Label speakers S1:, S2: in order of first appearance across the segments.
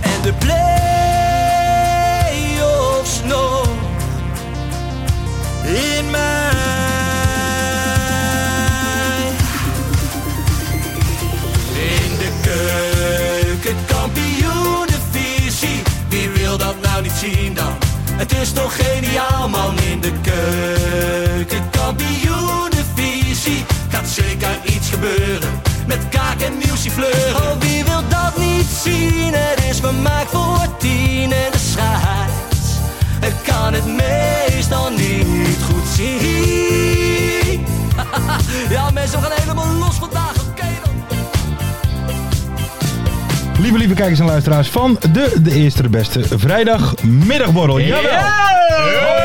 S1: En de play-offs nog
S2: in mij.
S1: In de keuken, kampioen de visie. Wie wil dat nou niet zien dan? Het is toch geniaal man in de keuken, kampioen de visie. Gaat zeker iets gebeuren met kaak en nieuwsje fleuren. Oh, wie wil dat niet zien? Het is vermaakt voor tien en de scheids. Ik kan het meestal niet goed zien. Ja, mensen, we gaan helemaal los vandaag. Oké dan.
S3: Lieve, lieve kijkers en luisteraars van de, de eerste, de beste vrijdagmiddagborrel. Jawel!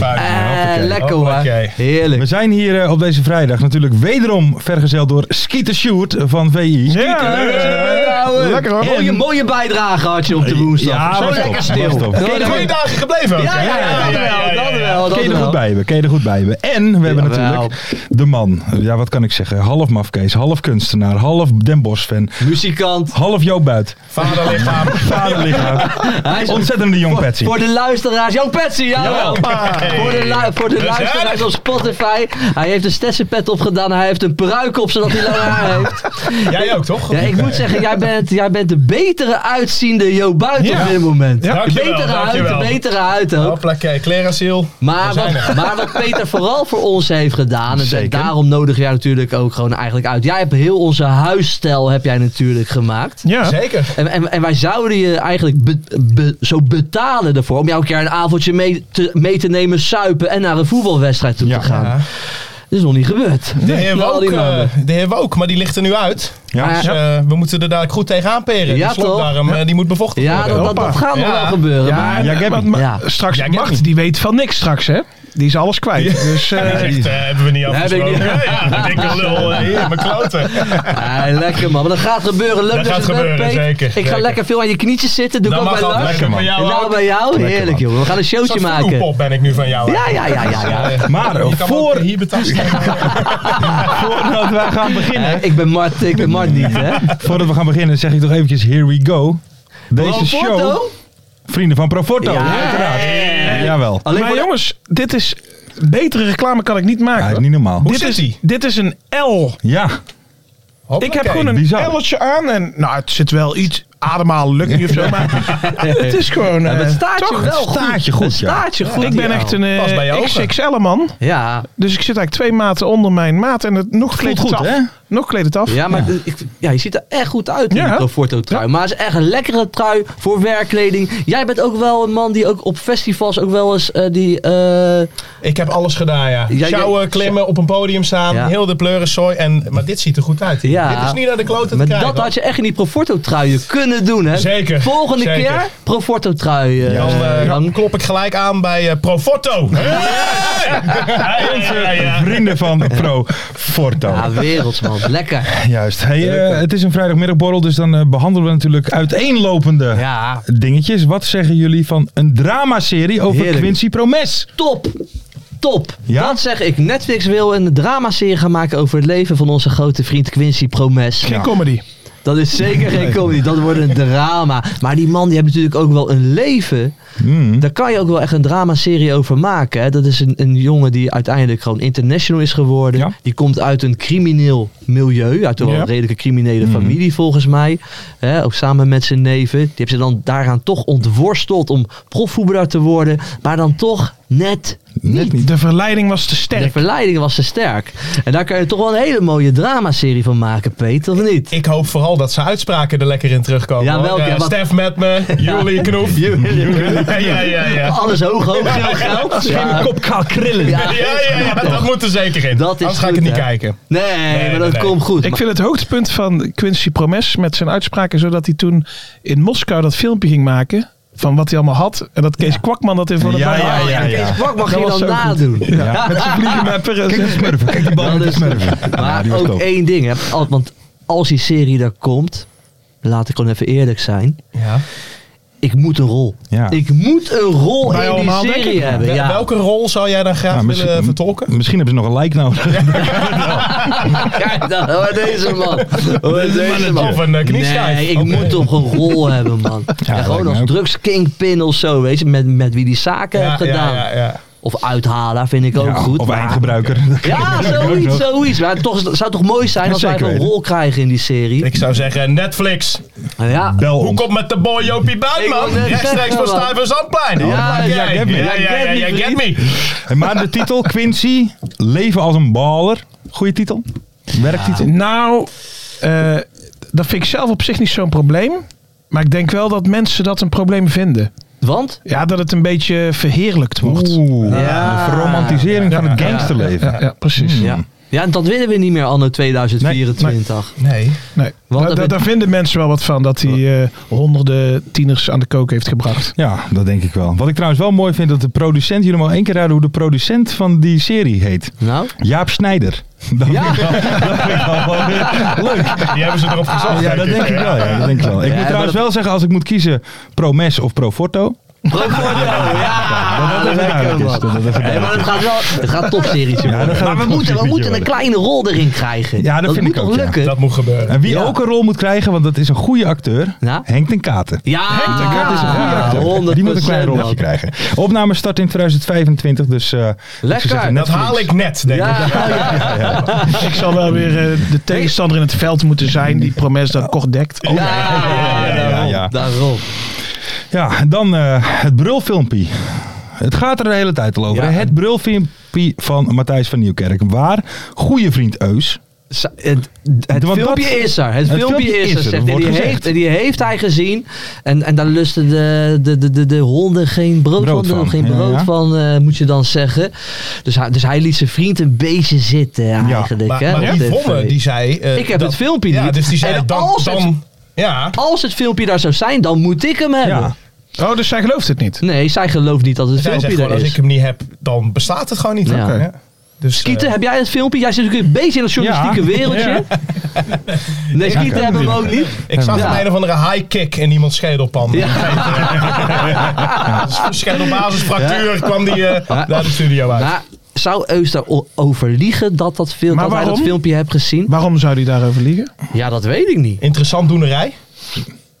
S3: Eh,
S4: lekker hoor.
S3: We
S4: Heerlijk.
S3: zijn hier eh, op deze vrijdag natuurlijk wederom vergezeld door Skeeter Sjoerd van VI.
S4: Lekker
S3: hoor.
S4: Eh, Mooie, mooie bijdrage had je op de woensdag.
S3: Ja,
S4: Zo
S3: was top,
S4: lekker
S3: was
S4: stil.
S3: top.
S4: Ja,
S3: Ken je
S4: dat-
S3: er
S5: dagen gebleven ook.
S4: Ja, ja, ja, dat wel, dat wel, dat
S3: Kun je er
S4: wel.
S3: goed bij hebben, kun je er goed bij hebben. En we hebben
S4: Jawel.
S3: natuurlijk de man, eh, ja wat kan ik zeggen, half mafkees, half kunstenaar, half Den Bosch fan,
S4: Muzikant.
S3: half Joop Buit,
S5: Vaderlichaam.
S3: vaderlichaam,
S4: Hij is
S3: ontzettende jong Patsy.
S4: Voor de luisteraars, Jan Petsy, jawel. Voor de, lu- voor de luisteraars op Spotify. Hij heeft een Stetsenpet opgedaan. Hij heeft een peruik op, zodat hij lang haar heeft.
S5: Jij ook, toch?
S4: Ja, ik moet zeggen, jij bent, jij bent de betere uitziende Jo Buiten
S5: Ja.
S4: op dit moment.
S5: Ja.
S4: De
S5: Dankjewel,
S4: betere huid, de
S5: dankjewel.
S4: betere huid ook.
S5: Hoppakee, Clerasiel.
S4: Maar
S5: zijn
S4: wat, maar wat Peter vooral voor ons heeft gedaan, en
S3: Zeker.
S4: daarom nodig jij natuurlijk ook gewoon eigenlijk uit. Jij hebt heel onze huisstijl heb jij natuurlijk gemaakt.
S5: Ja. Zeker.
S4: En, en, en wij zouden je eigenlijk be- be- zo betalen ervoor om jou een keer een avondje mee te, mee te nemen, suipen en naar een voetbalwedstrijd toe te gaan. Dat is nog niet gebeurd.
S5: De heer,
S4: Na al
S5: Wook,
S4: die
S5: eh,
S4: maanden.
S5: de heer Wook, maar die ligt er nu uit.
S3: Ja.
S5: Dus eh, we moeten er dadelijk goed tegenaan peren.
S4: Ja,
S5: die slokdarm, eh, die moet bevochtigd
S4: ja,
S5: worden.
S4: dat, dat, dat gaat nog
S5: Ja.
S4: wel gebeuren.
S6: Ja,
S4: maar,
S3: Ja, Gabby.
S6: maar- maar
S4: ja.
S6: Straks
S5: Ja, Gabby.
S6: Mart, die weet van niks straks, hè? Die is alles kwijt. Dus, eh,
S5: Ja, dat zegt, eh, hebben we niet afgesproken.
S4: heb ik
S5: Ja, ja, dikke lul. eh, Hier, mijn kloten.
S4: Ah, lekker man, maar dat gaat gebeuren. Leuk
S5: Dat
S4: je
S5: gaat
S4: er bent,
S5: gebeuren,
S4: Peet.
S5: zeker,
S4: Ik ga
S5: zeker.
S4: lekker veel aan je knietjes zitten. Doe ik
S5: Dat
S4: ook bij
S5: mag
S4: Lars.
S5: altijd lekker van
S4: En
S5: jou
S4: nou
S5: ook.
S4: bij jou, heerlijk
S3: man.
S4: joh. We gaan een
S5: Een
S4: showtje
S5: soort
S4: maken.
S5: voedelpop ben ik nu van jou.
S4: Ja, ja, ja, ja, ja.
S3: Maar
S5: Je kan me
S3: voor-
S5: ook hier betasten.
S3: Voordat wij gaan beginnen,
S4: Eh, ik ben Mart, ik ben Mart niet, hè?
S3: voordat we gaan beginnen zeg ik toch eventjes here we go. Deze
S4: Gewoon
S3: show,
S4: foto?
S3: vrienden van Proforto,
S4: Ja.
S3: uiteraard. Jawel.
S4: Alleen
S6: maar
S4: voor-
S6: jongens, dit is... Betere reclame kan ik niet maken.
S3: Ja, is
S6: hoor.
S3: niet normaal.
S6: dit,
S5: zit
S6: is,
S5: die?
S6: dit is een L.
S3: Ja,
S6: Ik heb
S5: Hoppakee.
S6: gewoon een
S3: bizar.
S6: L'tje aan en nou, het zit wel iets ademhalen, lukt niet of zo, maar het is gewoon...
S4: Ja,
S6: eh,
S4: maar het staat je
S6: toch?
S4: wel goed.
S3: staat je goed,
S4: Het
S3: ja.
S4: staat je goed.
S6: Ik ben
S4: ja.
S6: echt een
S5: Past bij je
S6: eh
S5: ogen.
S6: XXL man,
S4: Ja,
S6: dus ik zit eigenlijk twee maten onder mijn maat en het nog kleedt het
S3: goed,
S6: af.
S3: hè?
S6: Nog kleedt het af.
S4: ja maar Ik, ja, je ziet er echt goed uit in
S6: Ja.
S4: die Proforto trui. Maar het is echt een lekkere trui voor werkkleding. Jij bent ook wel een man die ook op festivals ook wel eens eh, die... eh,
S5: Ik heb alles gedaan, ja.
S4: Ja,
S5: Sjouwen,
S4: ja.
S5: klimmen, op een podium staan,
S4: Ja.
S5: heel de pleurensooi. En, maar dit ziet er goed uit.
S4: Ja.
S5: Dit is niet naar de kloten te
S4: maar
S5: krijgen.
S4: dat had je echt in die Proforto truien kunnen doen, hè?
S5: Zeker,
S4: Volgende
S5: zeker.
S4: keer Proforto truien.
S5: Dan eh,
S4: Jan.
S5: klop ik gelijk aan bij eh, Proforto.
S3: vrienden van Proforto.
S4: Ja, wereldsman. Lekker.
S3: Juist. Hey, eh, het is een vrijdagmiddagborrel, dus dan eh, behandelen we natuurlijk uiteenlopende
S4: Ja.
S3: dingetjes. Wat zeggen jullie van een dramaserie over
S4: Heerlijk.
S3: Quincy Promes?
S4: Top. Top.
S3: Ja?
S4: Dat zeg ik. Netflix wil een dramaserie gaan maken over het leven van onze grote vriend Quincy Promes.
S6: Geen comedy.
S4: Dat is zeker geen comedy. Dat wordt een drama. Maar die man die heeft natuurlijk ook wel een leven.
S3: Hmm.
S4: Daar kan je ook wel echt een dramaserie over maken. Hè? Dat is een, een jongen die uiteindelijk gewoon international is geworden.
S3: Ja.
S4: Die komt uit een crimineel milieu. Uit een wel
S6: Ja.
S4: redelijke criminele
S3: Hmm.
S4: familie volgens mij. Hè? Ook samen met zijn neven. Die hebben ze dan daaraan toch ontworsteld om profvoetballer te worden. Maar dan toch net
S3: Net niet.
S6: De verleiding was te
S4: de
S6: sterk.
S4: verleiding was te sterk. En daar kun je toch wel een hele mooie dramaserie van maken, Peter, of niet?
S5: Ik hoop vooral dat zijn uitspraken er lekker in terugkomen.
S4: Ja,
S5: hoor.
S4: welke?
S5: Eh,
S4: Wat-
S5: Stef met me, Julie Knoef. ja, ja, ja. ja.
S4: Alles hoog, hoog, veel geld. Ja.
S6: kop gaat krillen.
S4: Ja.
S5: Ja, ja, ja, dat moet er zeker in.
S4: Dat is
S5: Anders ga ik
S4: goed,
S5: het niet
S4: hè?
S5: kijken.
S4: Nee, maar dat
S5: nee,
S4: komt goed.
S6: Ik vind het hoogtepunt van Quincy Promes met zijn uitspraken, zodat hij toen in Moskou dat filmpje ging maken van wat hij allemaal had. En dat Kees Kwakman dat in voor de
S3: Ja, ja, ja, ja.
S4: Wat mag
S6: Dat
S4: je
S6: was
S4: dan
S6: zo goed.
S4: nadoen?
S3: Ja.
S6: Met zijn vliegenmapper.
S3: Kijk die smurfen. Kijk die bal
S4: Dat
S3: met de
S4: is-
S3: smurfen. Ja,
S4: Maar
S3: die was
S4: ook
S3: top.
S4: één ding, hè, al- want als die serie er komt, laat ik gewoon even eerlijk zijn. Ik moet een rol.
S3: Ja.
S4: Ik moet een rol
S6: Wij
S4: in die
S6: allemaal, denk ik.
S4: serie hebben.
S5: Wel-
S4: Ja.
S5: Welke rol zou jij dan graag
S3: Ja, misschien-
S5: willen vertolken?
S3: Misschien hebben ze nog een like nodig.
S4: Kijk dan, hoor deze man. Hoor deze man.
S5: Of een eh, knieschijf.
S4: Nee, ik
S5: Oké.
S4: moet toch een rol hebben, man. En
S3: lijkt
S4: gewoon
S3: mij
S4: als
S3: ook.
S4: drugskingpin of zo, weet je, met, met wie die zaken
S5: Ja,
S4: heeft gedaan.
S5: Ja, ja, ja.
S4: Of uithaler vind ik ook
S3: Ja,
S4: goed.
S3: Of
S4: maar-
S3: eindgebruiker.
S4: Ja, zoiets, zoiets. Maar toch, het zou toch mooi zijn als wij
S3: Zeker
S4: een
S3: weten.
S4: rol krijgen in die serie. Nou
S5: Ik zou zeggen, Netflix.
S4: ja,
S3: Bel
S5: Hoe
S3: ons.
S5: komt met de boy Jopie Buitman?
S4: Ik wou net
S5: Rechtstreeks
S4: zeggen,
S5: van
S4: man.
S5: Stuyven Zandplein.
S4: Ja,
S5: Hoppakee.
S4: ja,
S3: get me.
S5: Ja,
S4: Ja,
S5: ja,
S4: get
S5: ja,
S4: me,
S5: ja, get me.
S3: Maar de titel, Quincy, Leven als een baler. Goeie titel. Werktitel.
S6: Nou, eh, dat vind ik zelf op zich niet zo'n probleem. Maar ik denk wel dat mensen dat een probleem vinden.
S4: want?
S6: Ja, dat het een beetje verheerlijkt wordt.
S3: Oeh,
S4: Ja.
S3: de verromantisering van het
S6: Ja,
S3: gangsterleven.
S6: Ja, ja, precies.
S4: Ja. ja, en dat willen we niet meer anno 2024.
S5: Nee.
S6: Nee.
S4: Want
S6: Daar-
S4: dat-
S6: daar, daar vinden mensen wel wat van dat hij eh, honderden tieners aan de kook heeft gebracht.
S3: Ja, dat denk ik wel. Wat ik trouwens wel mooi vind, dat de producent, jullie mogen één keer raden hoe de producent van die serie heet.
S4: Nou?
S3: Jaap Snijder. Dat
S4: Ja.
S3: vind ik wel- dat vind ik wel wel weer leuk.
S5: Die hebben ze erop
S4: Ah,
S5: gezocht.
S3: Ja, dat denk ik wel. Ja, dat denk ik wel. Ik
S4: Ja,
S3: moet
S4: maar
S3: trouwens
S4: dat-
S3: wel zeggen, als ik moet kiezen Promes of Proforto.
S4: Ja, dat
S3: even
S4: lekker,
S3: duidelijk is,
S4: man.
S3: dat dat even
S4: Nee, maar het gaat wel, het gaat topserietje worden.
S3: dat gaat
S4: maar we
S3: een
S4: moeten, we
S3: topserietje
S4: moeten een
S3: worden.
S4: kleine rol erin krijgen.
S3: Ja, dat vind
S4: moet
S3: ik ook,
S4: toch
S3: ja.
S4: lukken?
S5: Dat moet gebeuren.
S3: En wie
S4: Ja.
S3: ook een rol moet krijgen, want dat is een goede acteur,
S4: Ja.
S3: Henk ten Katen.
S4: Ja,
S3: Dat is een goede acteur.
S4: 100%
S3: Die moet een klein rolletje
S4: man.
S3: krijgen. Opname start in 2025, dus... eh, ik zou
S4: Lekker.
S3: zeggen,
S5: Dat
S3: Netflix.
S5: haal ik net, denk ik.
S4: Ja,
S6: Ik zal wel weer eh, de tegenstander in het veld moeten zijn die Promes dat kort dekt. Oh,
S4: ja, ja,
S3: ja,
S4: daarom,
S3: ja.
S4: daarom.
S3: Ja, en dan eh, het brulfilmpje. Het gaat er de hele tijd al over.
S4: Ja.
S3: hè? Het brulfilmpje van Matthijs van Nieuwkerk. Waar goede vriend Eus.
S4: Sa- Het, het
S3: Want
S4: filmpje
S3: dat-
S4: is er. Het, filmpje is er. Zegt, hij.
S3: wordt
S4: die,
S3: gezegd.
S4: heeft, die heeft hij gezien. En, en daar lusten de, de, de, de, de honden geen brood,
S3: Brood
S4: van.
S3: van,
S4: Geen
S3: ja,
S4: brood
S3: ja.
S4: van, eh, moet je dan zeggen. Dus hij, dus hij liet zijn vriend een beetje zitten eigenlijk.
S5: Maar,
S4: hè,
S5: maar
S4: op
S5: die
S4: tv.
S5: Vonne, die zei... eh,
S4: Ik heb
S5: dat-
S4: het filmpje
S5: Ja,
S4: niet.
S5: dus die zei,
S4: En
S5: dan...
S4: als het-
S5: dan- Ja,
S4: Als het filmpje daar zou zijn, dan moet ik hem hebben.
S3: Ja.
S6: Oh, dus zij gelooft het niet.
S4: Nee, zij gelooft niet dat het
S5: zij zegt
S4: filmpje
S5: gewoon,
S4: er
S5: als ik
S4: is.
S5: hem niet heb, dan bestaat het gewoon niet.
S4: Ja.
S5: Oké.
S4: Ja.
S5: Dus, eh,
S4: Skieten, heb jij het filmpje? Jij zit natuurlijk een beetje in dat journalistieke
S3: Ja.
S4: wereldje. Nee, Skieten
S3: kan
S4: hebben we ook niet.
S5: Ik zag
S4: Ja.
S5: een een of andere high kick in iemands schedelpan. Dus Schedelbasisfractuur kwam die eh,
S4: Ja.
S5: naar de studio uit.
S4: Maar zou Eus daarover liegen dat, dat, film,
S6: Maar
S4: dat hij dat
S6: waarom?
S4: filmpje hebt gezien?
S6: Waarom zou hij daarover liegen?
S4: Ja, dat weet ik niet.
S5: Interessant doenerij.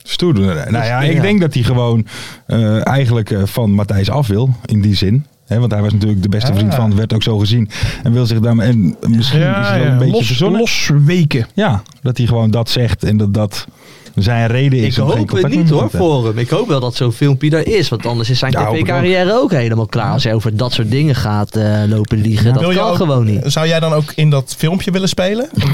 S3: Stoerder. Nou ja,
S4: Ja.
S3: ik denk dat hij gewoon eh, eigenlijk eh, van Matthijs af wil. In die zin. Hè, want hij was natuurlijk de beste vriend van, werd ook zo gezien. En wil zich daarmee. En misschien is het wel een beetje
S6: Los,
S3: verzonnen.
S6: losweken.
S3: Ja, dat hij gewoon dat zegt en dat dat zijn reden is.
S4: Ik
S3: om geen
S4: hoop het
S3: contact met
S4: niet
S3: hem
S4: hoor
S3: te hebben.
S4: voor hem. Ik hoop wel dat zo'n filmpje er is. Want anders is zijn
S3: Ja, hoop ik
S4: tv-carrière ook helemaal klaar. Als hij over dat soort dingen gaat eh, lopen liegen.
S5: Wil
S4: Dat
S5: je
S4: kan
S5: ook-
S4: gewoon niet.
S5: Zou jij dan ook in dat filmpje willen spelen? Nou,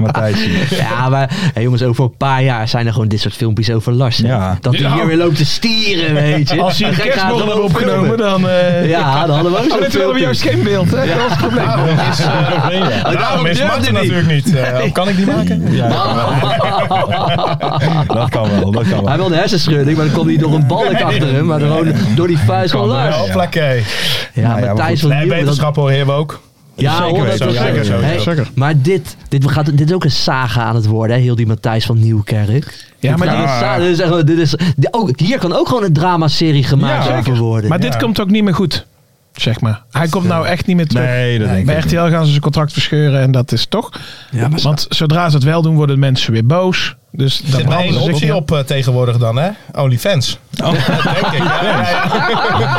S3: Matthijs.
S4: Ja, maar hey jongens, over een paar jaar zijn er gewoon dit soort filmpjes over Lars. hè.
S3: Ja.
S4: Dat hij
S6: Ja. Nou.
S4: hier weer loopt te stieren, weet je.
S6: Als hij een
S4: Gek
S6: kerstborrel
S4: gaat
S6: hebben
S4: gewoon
S6: opgenomen,
S4: filmen.
S6: dan... eh,
S4: Ja, dan hadden we ook
S6: Oh,
S4: zo'n
S6: dit willen we
S4: filmpje.
S6: juist geen beeld, hè? Dat was het probleem.
S5: is, eh, daarom is
S4: durfde niet.
S5: Marten natuurlijk niet. Eh, Kan ik die maken?
S3: Ja, dat kan wel. dat kan wel. Dat kan wel.
S4: Hij wilde hersenschudding, maar dan kwam hij door een balk achter hem. Maar gewoon door die vuist van Lars.
S5: Ja, plakkee.
S4: Ja,
S3: Nou ja, maar
S4: Matthijs van
S5: Nee,
S4: Nieuwen, dat-
S5: wetenschap hoor, hebben we ook.
S4: Ja,
S3: Zeker
S4: 100%.
S3: weten, zeker zo,
S4: Hey,
S6: zeker.
S4: Maar dit, dit, gaat, dit is ook een saga aan het worden, hè? heel die Matthijs van Nieuwkerk.
S6: Ja, maar
S4: dit,
S6: die-
S4: is, sa- dit is echt wel- dit is, di- ook, hier kan ook gewoon een dramaserie gemaakt
S3: Ja,
S4: over worden.
S6: Maar dit komt ook niet meer goed, zeg maar. Hij komt nou echt niet meer terug.
S3: Nee, dat denk
S6: Bij
S3: ik
S6: RTL gaan ze zijn contract verscheuren en dat is toch.
S4: Ja, maar
S6: Want zodra ze het wel doen, worden mensen weer boos. Dus
S5: Er
S6: dat
S5: zit maar één
S6: branden ze zich
S5: optie op eh, tegenwoordig dan, hè? OnlyFans. Dat denk ik. Ja, ja,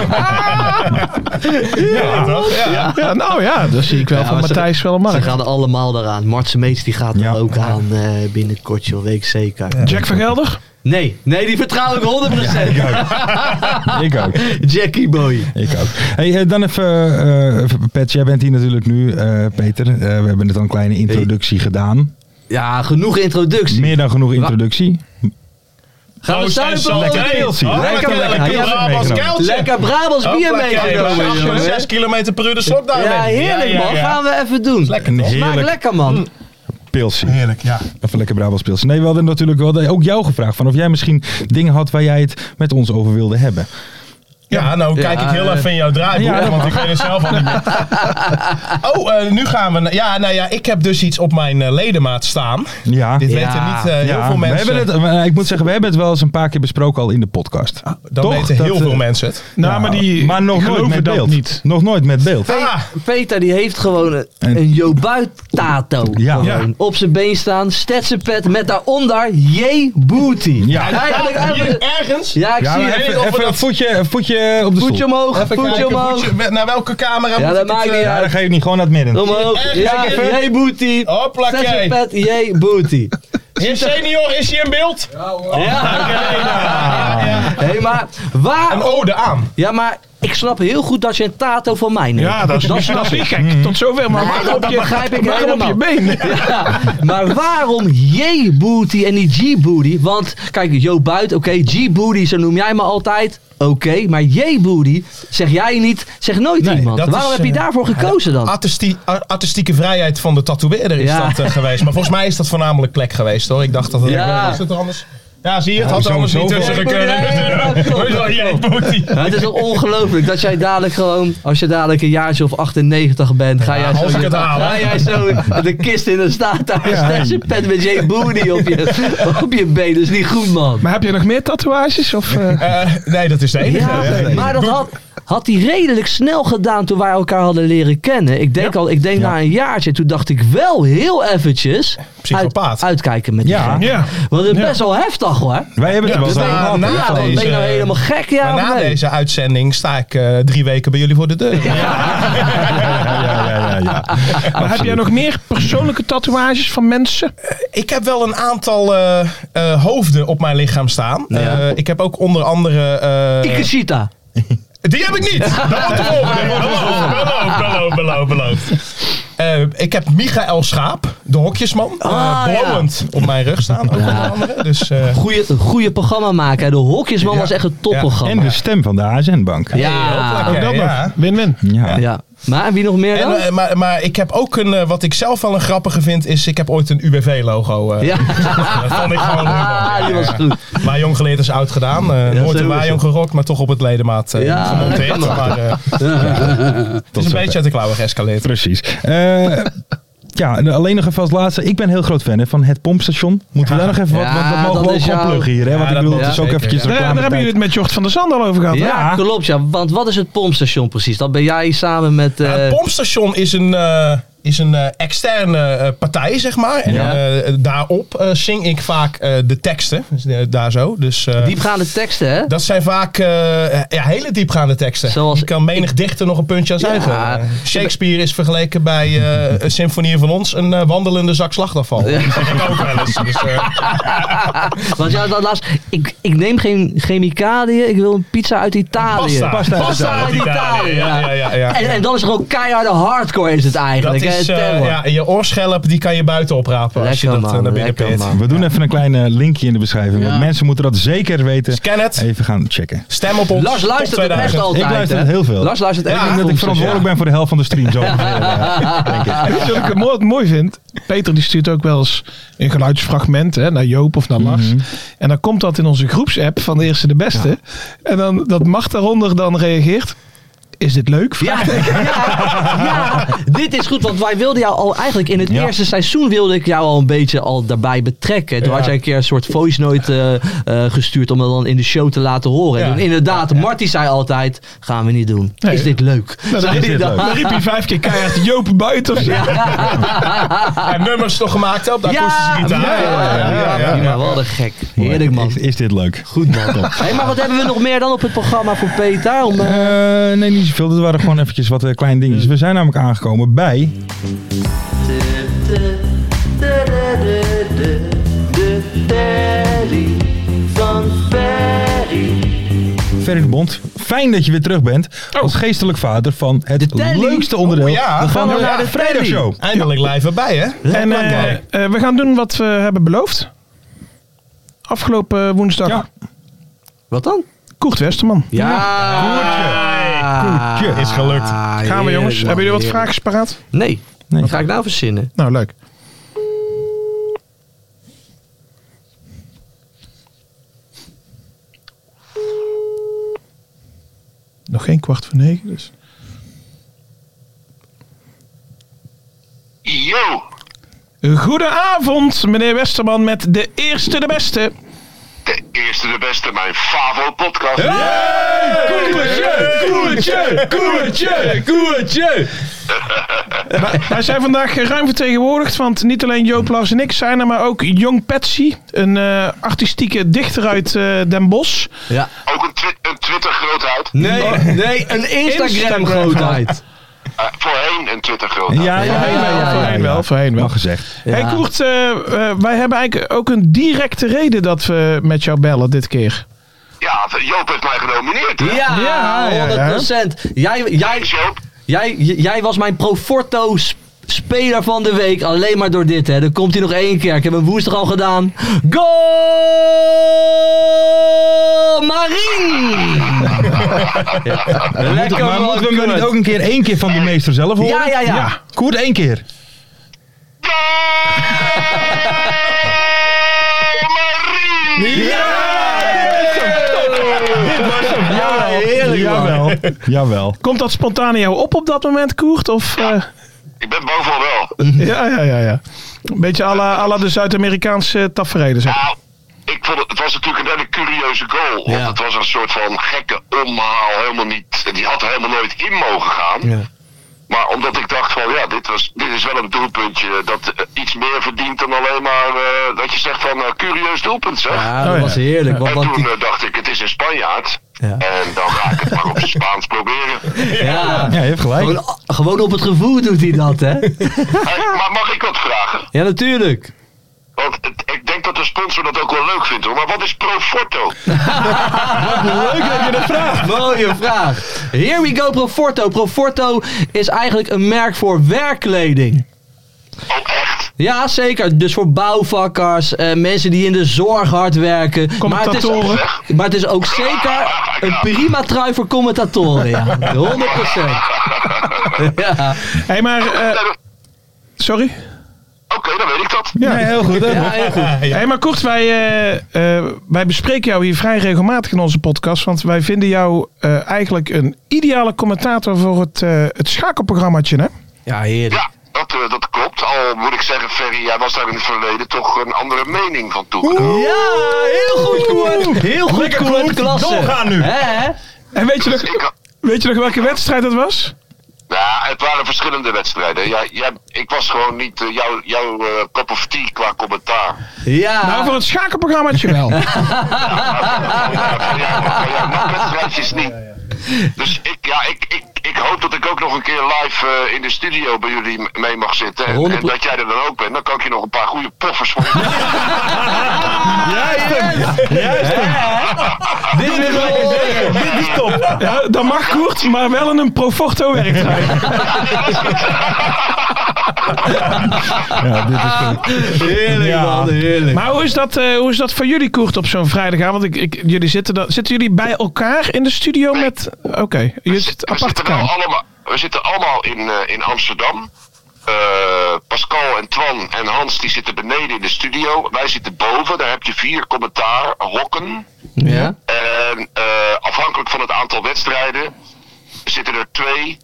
S5: ja. Ja, toch? Ja.
S6: niet. Ja, nou ja, dat zie ik wel
S4: Ja,
S6: van
S4: maar ze-
S6: Matthijs wel een
S4: Ze
S6: markt.
S4: gaan er allemaal eraan. Martse Meets die gaat
S3: Ja.
S4: er ook aan eh, binnenkort, joh. Weet ik zeker.
S6: Jack van Gelder?
S4: Nee, nee, die vertrouw ik 100%.
S3: Oh, Ik ook.
S4: Jackie Boy.
S3: Ik ook. Hey, eh, dan even, eh Pet, jij bent hier natuurlijk nu, eh, Peter. Eh, we hebben net al een kleine introductie gedaan.
S4: Ja, genoeg introductie.
S3: Meer dan genoeg introductie.
S4: gaan we
S5: Oh, zijn
S4: zuipen?
S5: ze
S4: Lekker,
S5: lekker.
S3: keeltje.
S5: Oh,
S3: Lekker,
S5: Lekker,
S3: lekker.
S5: lekker.
S3: Ja,
S5: Brabants
S3: meegenomen.
S5: kuiltje.
S4: Brabants bier
S5: Hoppakee,
S4: meegenomen,
S5: zes-
S4: jongen.
S5: Zes kilometer per uur de slok daarin.
S4: Ja, heerlijk
S5: Ja, ja,
S4: man.
S5: ja. Mm.
S4: Gaan we even doen.
S5: Lekker,
S3: Een
S5: toch?
S4: Smaakt
S3: heerlijk
S4: lekker man.
S3: pilsie.
S5: Heerlijk, ja.
S3: Even lekker Brabants pilsie. Nee, we hadden natuurlijk we hadden ook jou gevraagd van of jij misschien dingen had waar jij het met ons over wilde hebben.
S5: Ja, nou kijk
S4: Ja,
S5: ik heel
S4: eh,
S5: even in jouw draaiboek, want ik weet het zelf al niet meer. Oh, eh, nu gaan we... na- Ja, nou ja, ik heb dus iets op mijn eh, ledemaat staan.
S3: Ja.
S5: Dit
S4: Ja.
S5: weten niet eh, heel
S3: Ja,
S5: veel
S3: We
S5: mensen.
S3: hebben het, eh, ik moet zeggen, we hebben het wel eens een paar keer besproken al in de podcast.
S5: Ah, Dan
S3: Toch?
S5: weten
S3: Dat,
S5: heel
S3: eh,
S5: veel mensen het.
S6: Nou,
S3: Ja,
S6: maar die
S3: maar nog nooit
S6: geloven
S3: met
S6: dat
S3: beeld.
S6: niet.
S3: Nog nooit met beeld.
S5: Ah,
S4: Peter die heeft gewoon een,
S3: En-
S4: een Jobuit-tato.
S3: Ja.
S4: Gewoon Op zijn been staan, Stetsenpet met daaronder J. Booty.
S3: Ja.
S4: Eigenlijk,
S5: hier
S4: eigenlijk,
S5: ergens.
S4: ja, ik
S3: Ja,
S4: zie
S3: maar
S4: het.
S5: weet
S3: even,
S5: niet of we
S3: even
S5: dat-
S3: een voetje, een voetje op de stoel.
S4: Voetje omhoog,
S5: Even
S4: voetje
S5: kijken,
S4: omhoog.
S5: voetje- we- naar welke camera
S4: Ja,
S5: moet
S4: dat
S5: ik
S4: maakt
S5: het,
S4: niet
S5: eh,
S3: Ja, dan
S4: uit.
S3: geef ik niet gewoon naar het midden.
S4: Omhoog.
S5: Ergens
S4: Ja,
S5: even.
S4: J. Booty.
S5: Hoppakee.
S4: Stetsenpet, J. Booty.
S5: Heer senior, is hij in beeld?
S4: Ja.
S5: Oh. Ja, ja.
S4: Hé, maar waar...
S5: Een ode aan.
S4: Ja, maar ik snap heel goed dat je een tato van mij neemt.
S6: Ja, dat is, dat
S4: snap
S6: niet
S4: ik.
S6: gek. Tot zover, maar waarom
S4: dat
S6: op je,
S4: begrijp ik
S6: waarom op je been?
S4: Ja, maar waarom J-booty en niet G-booty? Want kijk, Jo Buit, oké, G-booty, zo noem jij me altijd. Oké, maar J-booty zeg jij niet, zeg nooit iemand.
S5: dat
S4: Waarom
S5: is,
S4: heb je
S5: eh,
S4: daarvoor gekozen dan?
S5: Artistie- ar- artistieke vrijheid van de tatoeëerder is
S4: Ja.
S5: dat eh, geweest. Maar volgens mij is dat voornamelijk plek geweest hoor. Ik dacht dat het...
S4: Ja.
S5: Is het er anders? Ja, zie je, het had
S3: zo-
S5: er anders niet
S3: zoveel-
S5: tussen
S4: Ja, ja, ja,
S5: gekund.
S4: ja, klopt,
S5: Hoe is dat? Jij, Booty.
S4: Ja, het is toch ongelooflijk dat jij dadelijk gewoon, als je dadelijk een jaartje of 98 bent, ga jij
S5: als
S4: zo,
S5: ik het haal, hè?
S4: ga jij zo de kist in de staat daar een ja. pet met J-booty op je, op je been. Dat is niet goed, man.
S6: Maar heb je nog meer tatoeages? Of, eh?
S5: Eh, nee, dat is de enige.
S4: Ja,
S5: Eh,
S4: maar dat had, had hij redelijk snel gedaan toen wij elkaar hadden leren kennen. Ik denk, al, ik denk na een jaartje, toen dacht ik wel heel eventjes...
S5: Psychopaat.
S4: uit- uitkijken met
S3: Ja.
S4: die gek.
S6: ja.
S4: Want het is
S6: Ja.
S4: best wel heftig hoor.
S3: Wij hebben het er
S5: Ja, dus
S3: wel
S5: wij-
S3: eens over
S5: na-
S3: gehad.
S4: Ja, dan
S5: deze-
S4: ben je nou helemaal gek, ja
S5: Maar
S4: of
S5: na
S4: nee?
S5: deze uitzending sta ik eh, drie weken bij jullie voor de deur.
S3: Ja, ja, ja, ja, ja.
S6: Maar heb jij nog meer persoonlijke tatoeages van mensen?
S5: Ik heb wel een aantal eh, eh, hoofden op mijn lichaam staan. Eh, ik heb ook onder andere... eh,
S4: Ikechita.
S5: Die heb ik niet. Dat wordt de volgende. Beloof, beloof, beloof, beloof, beloof. Eh, ik heb Michael Schaap, de hokjesman, eh
S4: Ah,
S5: blowend op mijn rug staan. Ook onder andere. Dus, eh,
S4: Goeie, een goeie programma maken. hè. De Hokjesman
S5: Ja.
S4: was echt een
S3: En
S4: topprogramma.
S3: de stem van de ASN-bank.
S4: Ja.
S5: Hey,
S4: Ja.
S5: hoppakee, ja.
S6: Win-win.
S3: Ja.
S4: Maar wie nog meer
S5: En,
S4: dan?
S5: eh, maar, maar ik heb ook een, eh, wat ik zelf wel een grappige vind, is ik heb ooit een UWV-logo. eh
S4: ja.
S5: Dat vond ik gewoon helemaal,
S4: Ah, die was
S5: ja.
S4: goed.
S5: Maar jong geleerd is oud gedaan. eh,
S4: Ja,
S5: nooit
S4: zo
S5: een
S4: is
S5: waaijong
S4: het.
S5: gerokt, maar toch op het ledemaat eh,
S4: Ja,
S5: gemonteerd. Maar, eh, het is een
S3: zover.
S5: beetje uit de klauwen geëscaleerd.
S3: Precies. Eh, ja, en alleen nog even als laatste. Ik ben heel groot fan hè, van het pompstation. Moeten we daar nog even wat,
S4: Ja,
S3: want dat mogen we
S4: dat
S3: ook
S4: is
S3: gewoon
S4: jouw-
S3: pluggen hier. Hè?
S5: Ja,
S3: Want ik
S5: dat
S3: bedoel,
S5: moet-
S3: het is ook
S5: zeker,
S3: eventjes
S5: ja.
S6: Daar, Eh, daar
S3: reclame
S6: hebben jullie het met Jocht van der Zand al over gehad.
S4: Ja,
S6: hè?
S4: klopt ja. Want wat is het pompstation precies? Dat ben jij samen met... eh,
S5: Ja, het pompstation is een, eh, is een eh, externe eh, partij, zeg maar. En
S4: Ja.
S5: eh, daarop eh, zing ik vaak eh, de teksten. Dus, eh, daar zo. Dus, eh,
S4: diepgaande teksten hè?
S5: dat zijn vaak eh, ja, hele diepgaande teksten.
S4: Zoals-
S5: Die kan menig dichter nog een puntje aan
S4: Ja.
S5: zuigen. Eh, Shakespeare is vergeleken bij eh, een symfonie van ons een eh, wandelende zak slachtafval.
S4: Ja.
S5: Dat zeg ik ook wel eens. Dus, eh,
S4: Want ja, dat laatst, ik, ik neem geen chemicaliën, ik wil een pizza uit Italië.
S5: pasta. Pasta,
S4: uit Italië,
S5: Ja,
S4: ja.
S5: ja, ja, ja.
S4: En, en dan is er ook keiharde hardcore is het
S5: dat
S4: eigenlijk. hè,
S5: is, eh,
S4: terror.
S5: ja, je oorschelp die kan je buiten oprapen als je
S4: Lekker,
S5: dat eh,
S4: man,
S5: naar binnen
S4: lekker,
S5: pit.
S4: man.
S3: We doen even een klein eh, linkje in de beschrijving.
S4: Ja.
S3: Want mensen moeten dat zeker weten.
S5: Scan het,
S3: Even gaan checken.
S5: stem op ons.
S4: Lars
S5: Top
S4: luistert het
S5: 2000.
S4: echt altijd.
S3: Ik luister
S4: hè?
S3: het heel veel.
S4: Lars luistert echt
S3: ik denk dat ik verantwoordelijk ben voor de helft van de stream. Zo ongeveer, eh, denk ik.
S6: Weet je wat ik het mooi, mooi vind? Peter die stuurt ook wel eens een geluidsfragment hè, naar Joop of naar Lars.
S4: Mhm.
S6: En dan komt dat in onze groepsapp van de eerste de beste. En dan dat mag daaronder dan reageert. Is dit leuk?
S4: Ja, ja, ja, dit is goed, want wij wilden jou al eigenlijk in het
S3: Ja.
S4: eerste seizoen wilde ik jou al een beetje al daarbij betrekken. Toen
S5: Ja.
S4: had jij een keer een soort voice note eh, eh, gestuurd om dat dan in de show te laten horen.
S5: Ja.
S4: En toen inderdaad, Marty zei altijd, gaan we niet doen.
S6: Nee.
S4: Is dit leuk?
S6: Nou, dan
S4: Zei
S6: is
S4: hij
S6: dit
S4: dan.
S6: leuk. Dan riep hij vijf keer keihard Joop buiten. of zo.
S5: En nummers toch gemaakt op de
S4: Ja,
S5: akoestische
S4: ja,
S5: gitaar.
S4: ja, ja, ja, ja, ja, wat een gek. Heerlijk man.
S3: Is, is dit leuk?
S4: Goed man. Hey, maar wat hebben we nog meer dan op het programma voor Peter? Om, eh,
S3: Eh, nee, niet zoveel. Dat waren gewoon eventjes wat eh, kleine dingetjes. We zijn namelijk aangekomen bij... Ferry de Bond, fijn dat je weer terug bent. Als geestelijk vader van het
S4: De telly.
S3: leukste onderdeel
S5: Oh, ja.
S3: van
S4: Gaan we
S3: de
S4: naar de
S3: vrijdagshow.
S5: Eindelijk live erbij, hè?
S6: En eh, eh, we gaan doen wat we hebben beloofd. Afgelopen woensdag.
S3: Ja.
S4: Wat dan?
S6: Koert Westerman.
S4: Ja. Ah,
S3: Koertje. Koertje.
S5: Is gelukt.
S6: Gaan we jongens. Hebben jullie wat
S4: vragen?
S6: vragen paraat?
S4: Nee.
S3: Nee.
S4: Wat ga ik nou verzinnen?
S6: Nou, leuk. Nog geen kwart voor negen, dus.
S7: Yo,
S6: Goedenavond, meneer Westerman, met de eerste, de beste.
S7: de eerste de beste, mijn Favo podcast.
S6: Koertje, koertje, koertje, koertje. Wij zijn vandaag ruim vertegenwoordigd, want niet alleen Joop Lars en ik zijn er, maar ook Jong Patsy, een eh, artistieke dichter uit eh, Den Bosch.
S4: Ja.
S7: Ook een, twi- een Twitter grootheid.
S4: Nee, nee een Instagram grootheid.
S7: Eh, voorheen een Twitter grootheid.
S3: Ja, ja,
S6: Voorheen wel,
S4: ja,
S6: voorheen wel, voorheen wel.
S3: Mag gezegd.
S4: Ja.
S6: Hey Koert, eh, eh, wij hebben eigenlijk ook een directe reden dat we met jou bellen dit keer.
S7: Ja, Joop heeft mij genomineerd. hè?
S4: Ja,
S6: Ja, ja, ja.
S4: 100%. Jij, jij,
S7: Joop,
S4: jij, j- jij was mijn Proforto sp- speler van de week. Alleen maar door dit, hè. Dan komt hij nog één keer. Ik heb hem woensdag al gedaan. Goal! Marien! Lekker man,
S3: maar moeten we hem
S4: Koert.
S3: niet ook een keer één keer van die meester zelf horen?
S4: Ja, ja, ja.
S3: Koert, één keer.
S4: Ja, heerlijk man.
S3: Jawel. Jawel.
S6: Komt dat spontaan in jou op op dat moment, Koert? Of, eh,
S7: ik ben bovenal wel.
S6: ja, ja, ja, ja. Een beetje à la, à la de Zuid-Amerikaanse tafereelen, zeg.
S7: Nou, ik vond het, het was natuurlijk een hele curieuze goal. Want
S4: Ja.
S7: het was een soort van gekke omhaal. Helemaal niet, die had er helemaal nooit in mogen gaan. Maar omdat ik dacht van ja, dit, was, dit is wel een doelpuntje dat eh, iets meer verdient dan alleen maar eh, dat je zegt van eh, curieus doelpunt zeg.
S4: Ja,
S6: Oh,
S4: dat
S6: ja.
S4: was heerlijk. Want,
S7: En
S4: want
S7: toen
S4: die,
S7: eh, dacht ik, het is een Spanjaard.
S4: Ja.
S7: En dan ga ik het maar op zijn Spaans proberen.
S4: ja.
S3: Ja, je hebt gelijk.
S4: Gewoon, gewoon op het gevoel doet hij dat, hè?
S7: Hey, Eh, maar mag ik wat vragen?
S4: Ja, natuurlijk.
S7: Want het- ik denk dat de sponsor dat ook wel leuk vindt hoor. Maar wat is Proforto?
S4: Leuk dat je dat vraagt. Mooie vraag. Here we go, Proforto. Proforto is eigenlijk een merk voor werkkleding.
S7: Oh echt?
S4: Ja, zeker. Dus voor bouwvakkers, eh, mensen die in de zorg hard werken. Maar het,
S6: Commentatoren.
S4: is, maar het is ook zeker een prima trui voor commentatoren. Ja, 100%. Ja,
S6: hey, maar... eh,
S7: Nee, dat-
S6: sorry?
S7: Oké, dan weet ik dat.
S3: Nee, heel goed. hè?
S4: ja heel goed.
S6: Hé, maar kort, wij, eh, eh, wij bespreken jou hier vrij regelmatig in onze podcast. Want wij vinden jou eh, eigenlijk een ideale commentator voor het, eh het schakelprogrammaatje, hè?
S4: Ja, heerlijk.
S7: Ja, dat, eh, dat klopt. Al moet ik zeggen, Ferry, jij was daar in het verleden toch een andere mening van toe.
S4: Ja, heel goed, Koert. Heel goed, Koert. Klasse.
S3: Doorgaan nu.
S4: Hè, hè?
S6: En weet je nog,
S7: Ik, had-
S6: weet je nog welke wedstrijd dat was?
S7: Nou, het waren verschillende wedstrijden. Jij, jij, ik was gewoon niet eh, jouw jouw eh, cup of tea qua commentaar.
S4: Ja.
S6: Nou, voor het schakelprogrammaatje wel.
S7: Ja, van jou- van jou nog wedstrijdjes niet. Dus ik, ja, ik, ik, ik hoop dat ik ook nog een keer live eh, in de studio bij jullie m- mee mag zitten. En, en
S4: 100%
S7: dat jij er dan ook bent. Dan kan ik je nog een paar goede poffers voor je-
S4: Dit willen we horen.
S6: Ja, dat mag Koert, maar wel in een Proforto werktrui.
S3: Ja, dit is goed.
S4: Heerlijk, man. Heerlijk.
S6: Maar hoe is dat, eh, hoe is dat voor jullie, Koert, op zo'n vrijdagavond? Ik, ik, jullie zitten, dan, zitten jullie bij elkaar in de studio met... Oké, jullie zitten
S7: we,
S6: apart
S7: zitten nou
S6: elkaar.
S7: allemaal, we zitten allemaal in, eh, in Amsterdam. Eh, Pascal en Twan en Hans die zitten beneden in de studio. Wij zitten boven. Daar heb je vier commentaar hokken.
S4: Ja.
S7: En eh, afhankelijk van het aantal wedstrijden zitten er twee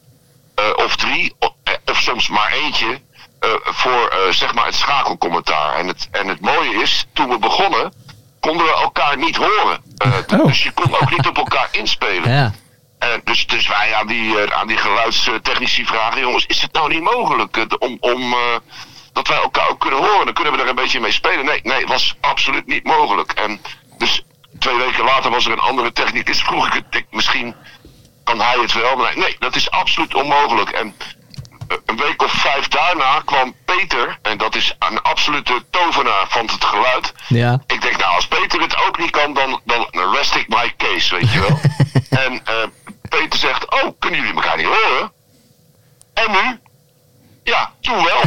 S7: eh, of drie, o- eh, of soms maar eentje, eh, voor eh, zeg maar het schakelcommentaar. En het, en het mooie is, toen we begonnen, konden we elkaar niet horen. Eh, d-
S6: Oh.
S7: Dus je kon ook niet op elkaar inspelen.
S4: Ja.
S7: Eh, dus, dus wij aan die, eh, aan die geluidstechnici vragen, jongens, is het nou niet mogelijk eh, om, om eh, dat wij elkaar ook kunnen horen? Dan kunnen we er een beetje mee spelen. Nee, nee, was absoluut niet mogelijk. En dus twee weken later was er een andere technicus, vroeg ik het, ik, misschien kan hij het wel. Maar hij- nee, dat is absoluut onmogelijk. En eh, een week of vijf daarna kwam Peter, en dat is een absolute tovenaar van het geluid.
S4: Ja.
S7: Ik denk, nou, als Peter het ook niet kan, dan, dan rest ik my case, weet je wel. en eh, Peter zegt, oh, kunnen jullie elkaar niet horen? En nu? Ja, toen wel.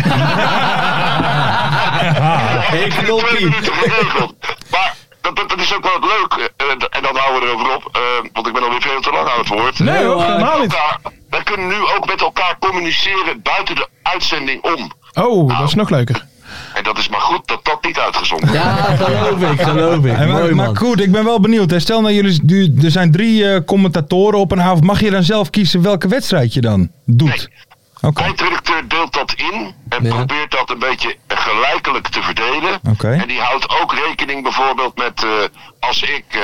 S6: Ah,
S4: Hey,
S7: Ik heb het in twee minuten geregeld. Maar dat, dat, dat is ook wel leuk. eh, en- en dan houden we erover op, eh, want ik ben alweer veel te lang aan het woord.
S6: Nee hoor,
S4: hoor.
S6: helemaal niet.
S7: Elkaar- wij kunnen nu ook met elkaar communiceren buiten de uitzending om.
S6: Oh, dat is nog leuker.
S7: En dat is maar goed dat dat niet uitgezonden wordt.
S4: Ja, geloof ik, geloof ik.
S3: En maar,
S4: Mooi,
S3: maar
S4: man.
S3: goed, ik ben wel benieuwd. Hè. Stel nou, jullie, du- er zijn drie eh, commentatoren op een avond. Mag je dan zelf kiezen welke wedstrijd je dan doet? Oké,
S7: Eindredacteur deelt dat in en
S4: Ja.
S7: probeert dat een beetje gelijkelijk te verdelen.
S3: Oké.
S7: En die houdt ook rekening bijvoorbeeld met eh, als ik eh,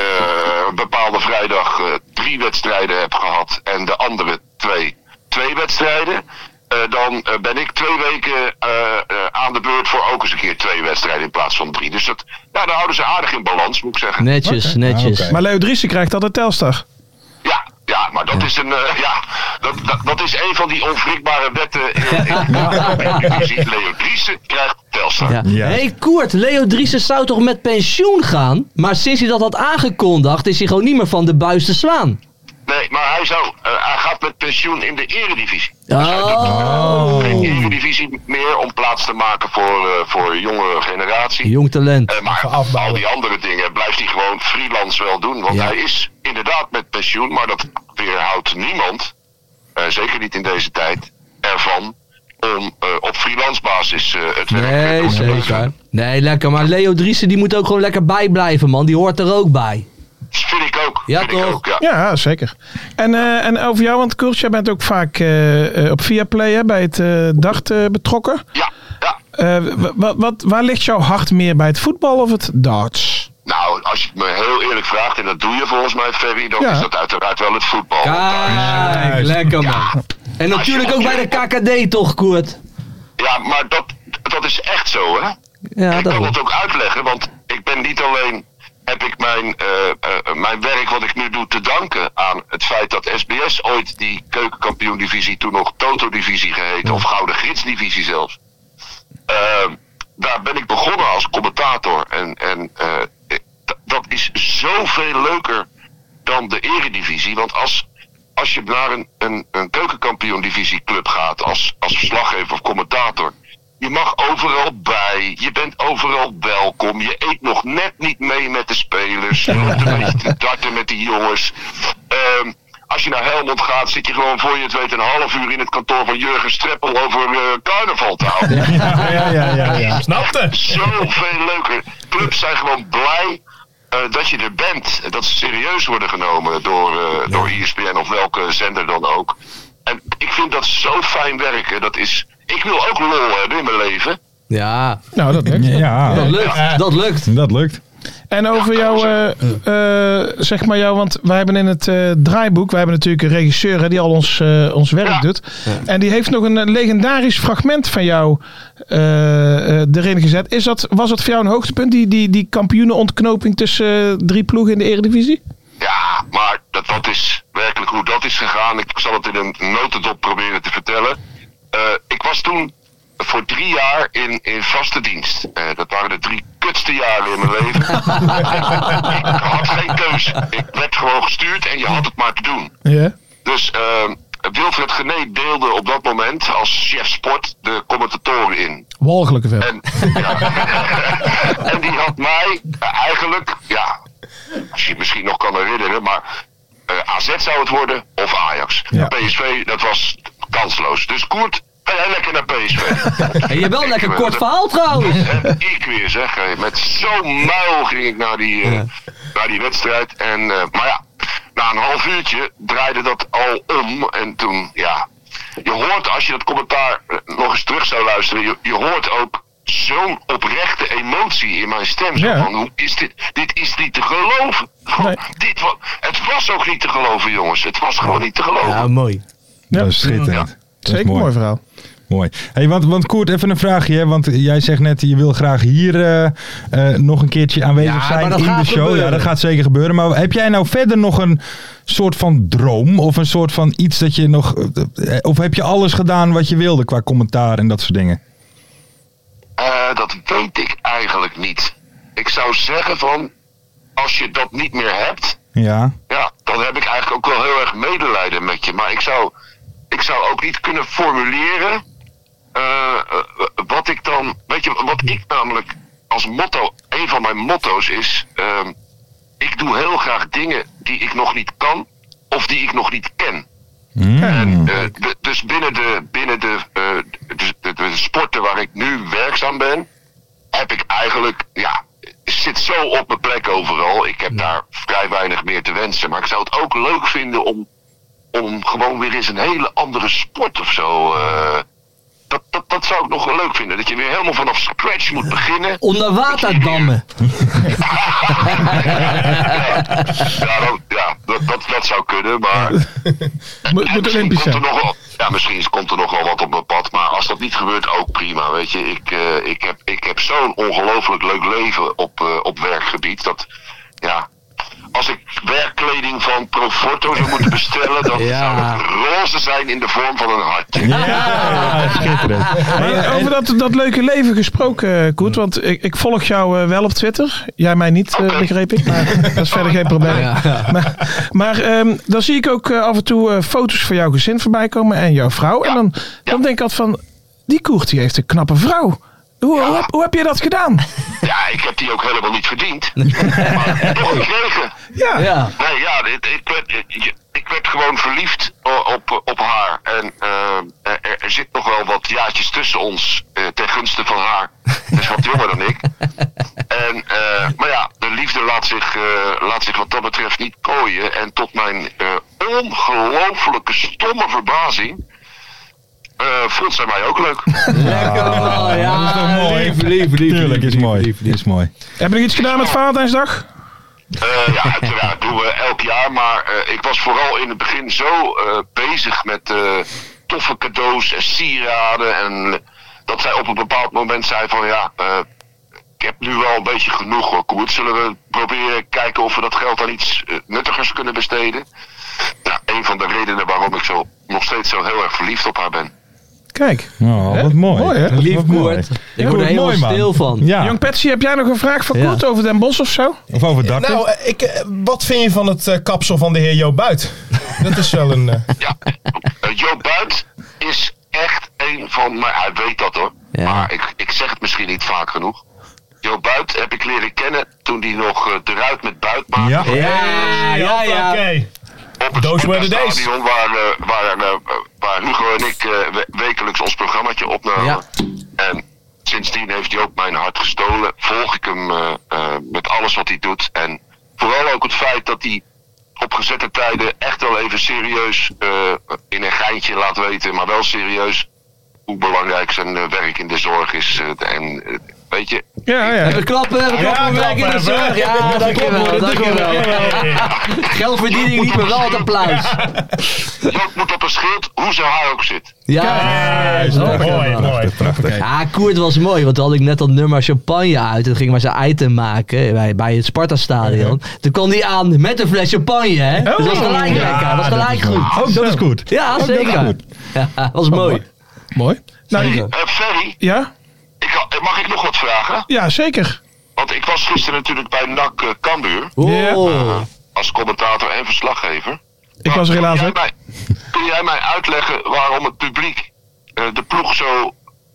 S7: een bepaalde vrijdag eh, drie wedstrijden heb gehad en de andere twee, twee wedstrijden. eh, dan eh, ben ik twee weken eh, eh, aan de beurt voor ook eens een keer twee wedstrijden in plaats van drie. Dus dat, nou, daar houden ze aardig in balans, moet ik zeggen.
S4: Netjes, netjes.
S3: Ah, oké.
S6: Maar Leo Driessen krijgt altijd Telstar.
S7: Ja, ja, maar dat is een, eh, ja, dat, dat, dat is een van die onwrikbare wetten. In, in, in, Leo Driessen krijgt Telstar.
S4: Ja.
S3: Ja.
S4: hey, Koert, Leo Driessen zou toch met pensioen gaan? Maar sinds hij dat had aangekondigd, is hij gewoon niet meer van de buis te slaan.
S7: Nee, maar hij, zou, eh, hij gaat met pensioen in de eredivisie.
S4: Oh,
S7: Geen eredivisie meer om plaats te maken voor, eh, voor jongere generatie.
S4: jong talent.
S7: Eh, maar
S5: Even afbouwen.
S7: al die andere dingen blijft hij gewoon freelance wel doen. Want
S4: Ja.
S7: hij is inderdaad met pensioen, maar dat weerhoudt niemand, eh, zeker niet in deze tijd, ervan om eh, op freelance basis eh, het werk eh,
S4: Nee,
S7: door te blijven.
S4: zeker. Nee, lekker. Maar Leo Driessen die moet ook gewoon lekker bijblijven, man. Die hoort er ook bij.
S7: Vind ik ook.
S4: Ja,
S7: vind
S4: toch?
S7: Ik ook, ja.
S6: Ja, zeker. En, eh, en over jou, want Koert, jij bent ook vaak eh, eh, op Viaplay hè, bij het eh, dart eh, betrokken.
S7: ja, ja.
S6: Eh, wa- wa- wat, waar ligt jouw hart meer bij het voetbal of het darts?
S7: Nou, als je het me heel eerlijk vraagt, en dat doe je volgens mij, Ferry, dan
S6: Ja.
S7: is dat uiteraard wel het voetbal. Want daar is, eh,
S4: Kijk, lekker, man. En natuurlijk ook bij de KKD, toch, Koert?
S7: Ja, maar dat, dat is echt zo, hè?
S4: Ja,
S7: ik kan
S4: daarom.
S7: dat ook uitleggen, want ik ben niet alleen... heb ik mijn, eh, eh, mijn werk wat ik nu doe te danken aan het feit dat SBS ooit die keukenkampioen-divisie... toen nog Toto-divisie geheten, of Gouden Gids-divisie zelfs... Ehm, daar ben ik begonnen als commentator. En, en eh, ik- d- dat is zoveel leuker dan de eredivisie. Want als, als je naar een, een, een keukenkampioen-divisieclub gaat als, als verslaggever of commentator... Je mag overal bij, je bent overal welkom, je eet nog net niet mee met de spelers, je loopt een beetje te darten met die jongens. Ehm, als je naar Helmond gaat, zit je gewoon voor je het weet een half uur in het kantoor van Jurgen Streppel over eh, carnaval te houden
S5: Ja, ja, ja. ja. Snapte?
S7: zoveel leuker. Clubs zijn gewoon blij eh, dat je er bent. En Dat ze serieus worden genomen door, eh door ESPN of welke zender dan ook. En ik vind dat zo fijn werken. Dat is, ik wil ook lol hebben in mijn leven.
S4: Ja,
S6: Nou, dat lukt.
S3: ja,
S4: dat lukt. Dat lukt.
S3: dat lukt.
S6: En over jou, eh, eh, zeg maar jou, want wij hebben in het eh, draaiboek, wij hebben natuurlijk een regisseur hè, die al ons, eh, ons werk
S7: Ja.
S6: doet. En die heeft nog een eh, legendarisch fragment van jou eh, eh, erin gezet. Is dat, was dat voor jou een hoogtepunt, die, die, die kampioenenontknoping tussen eh, drie ploegen in de Eredivisie?
S7: Ja, maar dat, dat is werkelijk hoe dat is gegaan. Ik zal het in een notendop proberen te vertellen. Eh, ik was toen voor drie jaar in, in vaste dienst. Eh, dat waren de drie kutste jaren in mijn leven. ik had geen keuze. Ik werd gewoon gestuurd en je had het maar te doen.
S6: Ja.
S7: Dus eh, Wilfred Gené deelde op dat moment als chef sport de commentatoren in.
S6: Walgelijke vent.
S7: En, ja. en die had mij eh, eigenlijk, ja, als je het misschien nog kan herinneren, maar eh, AZ zou het worden of Ajax. PSV, dat was kansloos. Dus Koert, ga jij lekker naar PSV.
S4: En je hebt wel een lekker
S7: Ik, eh,
S4: kort verhaal, trouwens.
S7: en ik weer zeg, hé, met zo'n muil ging ik naar die, eh, naar die wedstrijd. En, eh, maar ja, na een half uurtje draaide dat al om. En toen, ja. Je hoort, als je dat commentaar eh, nog eens terug zou luisteren, je, je hoort ook zo'n oprechte emotie in mijn stem. Zo
S6: Ja.
S7: van, hoe is dit? Dit is niet te geloven. Van,
S6: Nee.
S7: dit wa- het was ook niet te geloven, jongens. Het was gewoon niet te geloven.
S4: Ja, mooi.
S3: Dat is schitterend.
S7: Ja.
S3: Dat is
S6: Zeker mooi.
S3: mooi.
S6: verhaal.
S3: Mooi. Hey, want, want Koert, even een vraagje. Hè? Want jij zegt net, je wil graag hier eh, eh, nog een keertje aanwezig
S4: Ja, maar
S3: zijn
S4: dat
S3: in de
S4: gaat
S3: show.
S4: gebeuren.
S3: Ja, dat gaat zeker gebeuren. Maar heb jij nou verder nog een soort van droom? Of een soort van iets dat je nog... eh, Of heb je alles gedaan wat je wilde qua commentaar en dat soort dingen?
S7: Eh, dat weet ik eigenlijk niet. Ik zou zeggen van, als je dat niet meer hebt,
S3: Ja.
S7: ja, dan heb ik eigenlijk ook wel heel erg medelijden met je. Maar ik zou, ik zou ook niet kunnen formuleren eh, eh, wat ik dan, weet je, wat ik namelijk als motto, een van mijn motto's is, ehm, ik doe heel graag dingen die ik nog niet kan of die ik nog niet ken. En, eh, de- dus binnen, de, binnen de, eh, de, de- de sporten waar ik nu werkzaam ben, heb ik eigenlijk, ja, zit zo op mijn plek overal. Ik heb daar vrij weinig meer te wensen. Maar ik zou het ook leuk vinden om, om gewoon weer eens een hele andere sport of zo. eh, dat, dat, dat zou ik nog wel leuk vinden. Dat je weer helemaal vanaf scratch moet beginnen.
S4: Onder waterdammen.
S7: Ja, dat, ja, dat, dat, dat zou kunnen, maar...
S6: Moet,
S7: En
S6: moet
S7: misschien
S6: Olympisch
S7: komt
S6: zijn.
S7: er nog wel, ja, misschien komt er nog wel wat op mijn pad. Maar als dat niet gebeurt, ook prima. Weet je, ik, eh, ik heb, ik heb zo'n ongelooflijk leuk leven op, eh, op werkgebied. Dat, ja, als ik werkkleding van Proforto zou moeten bestellen, dan
S4: Ja.
S7: zou het roze zijn in de vorm van een hartje.
S4: Oh,
S6: Maar over dat, dat leuke leven gesproken, eh, Koet. Want ik, ik volg jou eh, wel op Twitter. Jij mij niet, eh, begreep ik. Maar dat is verder geen probleem. Maar, maar ehm, dan zie ik ook eh, af en toe eh, foto's van jouw gezin voorbij komen en jouw vrouw. En dan, dan denk ik altijd van, die Koert die heeft een knappe vrouw. Hoe, hoe, heb, hoe heb je dat gedaan?
S7: Ja, ik heb die ook helemaal niet verdiend. maar toch gekregen.
S6: Ja.
S4: Ja.
S7: Nee, ja, dit- ik, werd, ik, ik werd gewoon verliefd o- op, op haar. En eh, er, er zit nog wel wat jaartjes tussen ons eh, ten gunste van haar. Ze is wat jonger dan ik. En, eh, maar ja, de liefde laat zich, eh, laat zich wat dat betreft niet kooien. En tot mijn eh ongelooflijke stomme verbazing eh, vond zij mij ook leuk.
S4: Lekker man. Ja,
S3: dat is toch mooi?
S4: Lief, lief, lief,
S3: Tuurlijk,
S4: lief,
S3: is
S4: lief,
S3: mooi.
S4: lief, lief.
S3: Is mooi.
S6: Heb je nog iets gedaan met Valentijnsdag?
S7: Eh, ja, uiteraard doen we elk jaar. Maar eh, ik was vooral in het begin zo eh, bezig met eh, toffe cadeaus en sieraden. En dat zij op een bepaald moment zei van ja, eh, ik heb nu wel een beetje genoeg hoor. Koert, zullen we proberen kijken of we dat geld aan iets eh, nuttigers kunnen besteden? Nou, een van de redenen waarom ik zo, nog steeds zo heel erg verliefd op haar ben.
S6: Kijk.
S3: Oh, wat mooi.
S6: Mooi, hè?
S3: Dat is
S4: Lief
S3: wat mooi.
S4: Koert. Ik word er
S3: Koert, mooi,
S4: helemaal
S3: man.
S4: stil van.
S3: Ja.
S6: Jong Patsy, heb jij nog een vraag voor
S4: Ja.
S6: Koert over Den Bos of zo?
S3: Of over Darten.
S5: Nou, eh, ik, eh, wat vind je van het eh, kapsel van de heer Joop Buit? Dat is wel een... eh,
S7: Ja, eh, Jo Buit is echt een van mijn. Hij weet dat hoor.
S4: Ja.
S7: Maar ik, ik zeg het misschien niet vaak genoeg. Jo Buit heb ik leren kennen toen hij nog eh, de ruit met Buit maakte.
S3: ja.
S4: Ja, ja, ja.
S5: Hoppakee.
S7: Op het
S5: Those were the days.
S7: Sparta-stadion waar, eh, waar, eh, waar Hugo en ik eh, we- wekelijks ons programmaatje opnamen.
S4: Ja.
S7: En sindsdien heeft hij ook mijn hart gestolen. Volg ik hem eh, eh, met alles wat hij doet. En vooral ook het feit dat hij op gezette tijden echt wel even serieus eh, in een geintje laat weten. Maar wel serieus hoe belangrijk zijn eh, werk in de zorg is. eh, en eh, weet je,
S6: Ja, ja.
S4: Even klappen, even klappen. we werken in de zorg. Nou, Ja, dankjewel, dankjewel. Geldverdiening niet, maar wel het applaus.
S7: Joop moet op een schild hoe ze haar ook zit.
S4: Ja,
S5: Kijk,
S4: lekker,
S5: mooi,
S4: man.
S5: mooi.
S4: Ja, Koert was mooi, want toen had ik net dat nummer champagne uit. En ging maar zijn item maken bij, bij het Sparta-stadion. Toen kwam hij aan met een fles champagne, hè? Dus dat was gelijk lekker, dat was gelijk goed.
S3: Ook dat is goed.
S4: Ja, zeker. Ja, was mooi.
S6: Mooi. Nou,
S7: Eh, Ferry,
S6: ja?
S7: ik, ha- mag ik nog wat vragen?
S6: Ja, zeker.
S7: Want ik was gisteren natuurlijk bij NAC eh, Cambuur.
S4: Oh.
S7: Als commentator en verslaggever.
S6: Ik was er
S7: Maar
S6: helaas
S7: kun
S6: ook.
S7: jij mij- Kun jij mij uitleggen waarom het publiek eh, de ploeg zo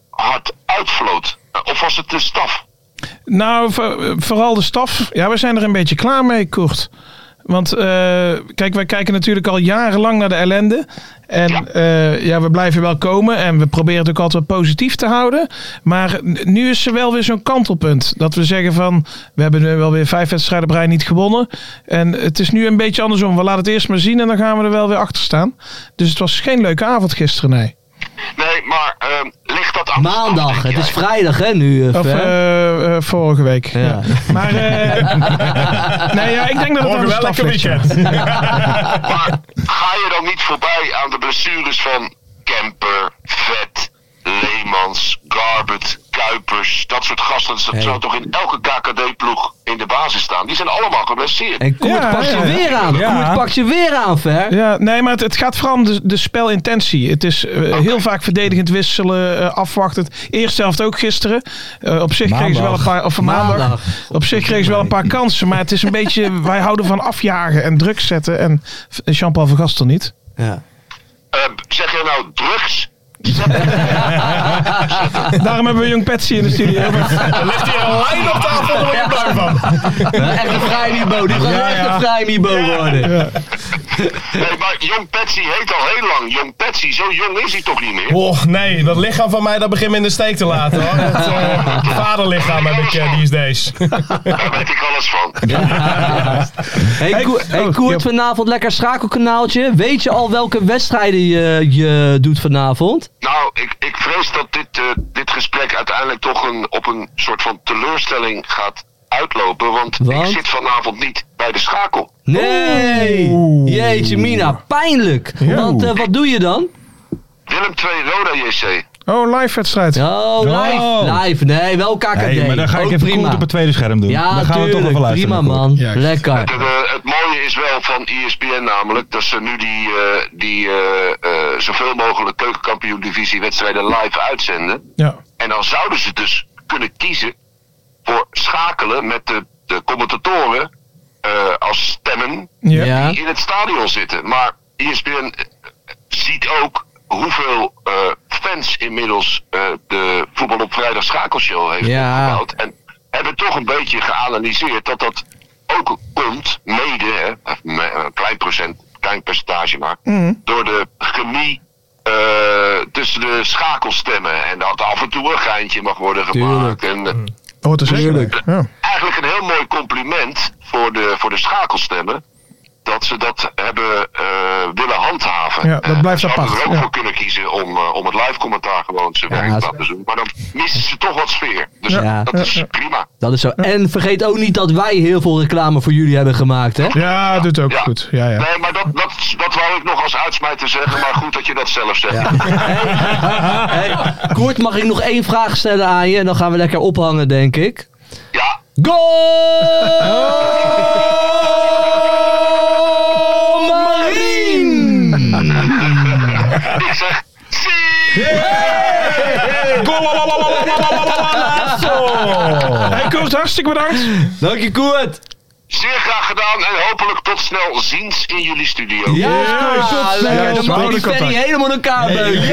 S7: hard uitvloot? Eh, Of was het de staf?
S6: Nou, voor- vooral de staf. Ja, we zijn er een beetje klaar mee, Koert. Want eh, kijk, wij kijken natuurlijk al jarenlang naar de ellende. En ja. ja, we blijven wel komen en we proberen het ook altijd wel positief te houden. Maar n- nu is er wel weer zo'n kantelpunt. Dat we zeggen van, we hebben nu wel weer vijf wedstrijden op rij niet gewonnen. En het is nu een beetje andersom. We laten het eerst maar zien en dan gaan we er wel weer achter staan. Dus het was geen leuke avond gisteren, nee.
S7: Nee, maar ehm, ligt dat aan de staf,
S4: Maandag,
S7: denk
S4: het
S7: jij?
S4: is vrijdag hè nu. eh,
S6: Of
S4: Fer?
S6: eh, eh, vorige week.
S4: ja.
S6: Ja. Maar eh, nee, ja, ik denk dat het aan
S5: Morgen
S6: de
S5: wel
S6: staf
S5: lekker
S6: ligt. ja.
S5: weekend.
S7: Maar ga je dan niet voorbij aan de blessures van Kemper, Vet, Leemans, Garbert, Kuipers, dat soort gasten? Dat zou toch in elke KKD-ploeg in de basis staan? Die zijn allemaal geblesseerd.
S4: En Koert
S6: Ja,
S4: pakt je
S6: ja.
S4: weer aan.
S3: Ja.
S4: Koert pakt je weer aan, Fer.
S6: Ja, nee, maar het, het gaat vooral om de, de spelintentie. Het is eh, heel vaak verdedigend wisselen, eh afwachtend. Eerst helft ook gisteren. Eh, op zich kregen ze wel een
S3: Maandag.
S6: paar... Of maandag.
S4: Maandag.
S6: Op zich kregen ze wel een paar kansen. Maar het is een beetje... Wij houden van afjagen en druk zetten. En v- Jean-Paul van Gastel niet.
S4: Ja.
S7: Eh, zeg je nou drugs?
S6: Daarom hebben we Jong Patsy in de studio.
S5: Er ligt hier een lijn op tafel, daar word je blij van.
S4: Echt een vrij niveau. Dit gaat
S5: Ja,
S4: echt
S5: ja.
S4: een vrij niveau worden.
S7: Nee, maar Jong Patsy heet al heel lang Jong Patsy. Zo jong is hij toch niet meer?
S5: Och Oh, nee, dat lichaam van mij dat begint me in de steek te laten hoor. Dat, eh, vaderlichaam heb ik eh, die is deze.
S7: Daar weet ik alles van.
S4: Hey, Ko- hey,
S6: oh,
S4: Koert,
S6: ja.
S4: vanavond lekker schakelkanaaltje. Weet je al welke wedstrijden je, je doet vanavond?
S7: Nou, ik, ik vrees dat dit, eh, dit gesprek uiteindelijk toch een, op een soort van teleurstelling gaat uitlopen. Want,
S4: Want?
S7: ik zit vanavond niet bij de schakel.
S4: Nee! Jeetje mina, pijnlijk. Want eh, wat doe je dan?
S7: Willem 2 Roda JC.
S6: Oh, live wedstrijd.
S4: Oh, live.
S3: Oh.
S4: Live, nee, wel KKD.
S3: Hey, maar dan ga ik
S4: Ook
S3: even
S4: prima.
S3: Koert op het tweede scherm doen.
S4: Ja,
S3: dan gaan we toch
S4: tuurlijk.
S3: even luisteren.
S4: prima
S3: naar Koert.
S4: man.
S5: Juist.
S4: Lekker.
S7: Het, eh, het mooie is wel van E ESPN namelijk dat ze nu die, eh, die eh, eh, zoveel mogelijk keukenkampioen divisie wedstrijden live uitzenden.
S6: Ja.
S7: En dan zouden ze dus kunnen kiezen voor schakelen met de, de commentatoren eh, als stemmen
S6: Ja.
S4: Ja.
S7: die in het stadion zitten. Maar E ESPN eh, ziet ook hoeveel eh, fans inmiddels eh, de Voetbal op Vrijdag schakelshow heeft
S4: Ja.
S7: opgebouwd. En hebben toch een beetje geanalyseerd dat dat ook komt, mede, hè, of me- een klein, procent, klein percentage maar,
S4: Mhm.
S7: door de chemie eh, tussen de schakelstemmen. En dat af en toe een geintje mag worden gemaakt. En, eh,
S4: Mhm.
S6: Hoort er zeker. Ja.
S7: eigenlijk een heel mooi compliment voor de, voor de schakelstemmen. Dat ze dat hebben eh, willen handhaven.
S6: Ja, dat
S7: Eh,
S6: blijft
S7: ze hadden
S6: apart,
S7: er ook
S6: ja.
S7: voor kunnen kiezen om, eh, om het live commentaar gewoon zijn werk
S4: dat
S7: te
S4: is-
S7: laten doen. Maar dan missen ze toch wat sfeer. Dus
S4: Ja.
S7: dat is prima.
S4: Dat is zo. En vergeet ook niet dat wij heel veel reclame voor jullie hebben gemaakt, hè?
S6: ja, doet ook goed. Ja, ja.
S7: Nee, maar dat, dat, dat wou ik nog als uitsmijter zeggen. Maar goed dat je dat zelf zegt.
S4: Hey, Koert, mag ik nog één vraag stellen aan je? En dan gaan we lekker ophangen, denk ik.
S7: ja.
S4: Goal! Marien!
S7: ik zeg. zie!
S6: Hey, Koert, hartstikke bedankt.
S4: Dank je, Koert!
S7: Zeer graag gedaan en hopelijk tot snel ziens in jullie studio.
S4: Ja,
S6: Koert, tot snel.
S4: lekker. Dan
S6: We
S4: moet
S6: houden
S4: die Ferry
S6: contact.
S4: helemaal in elkaar beuken.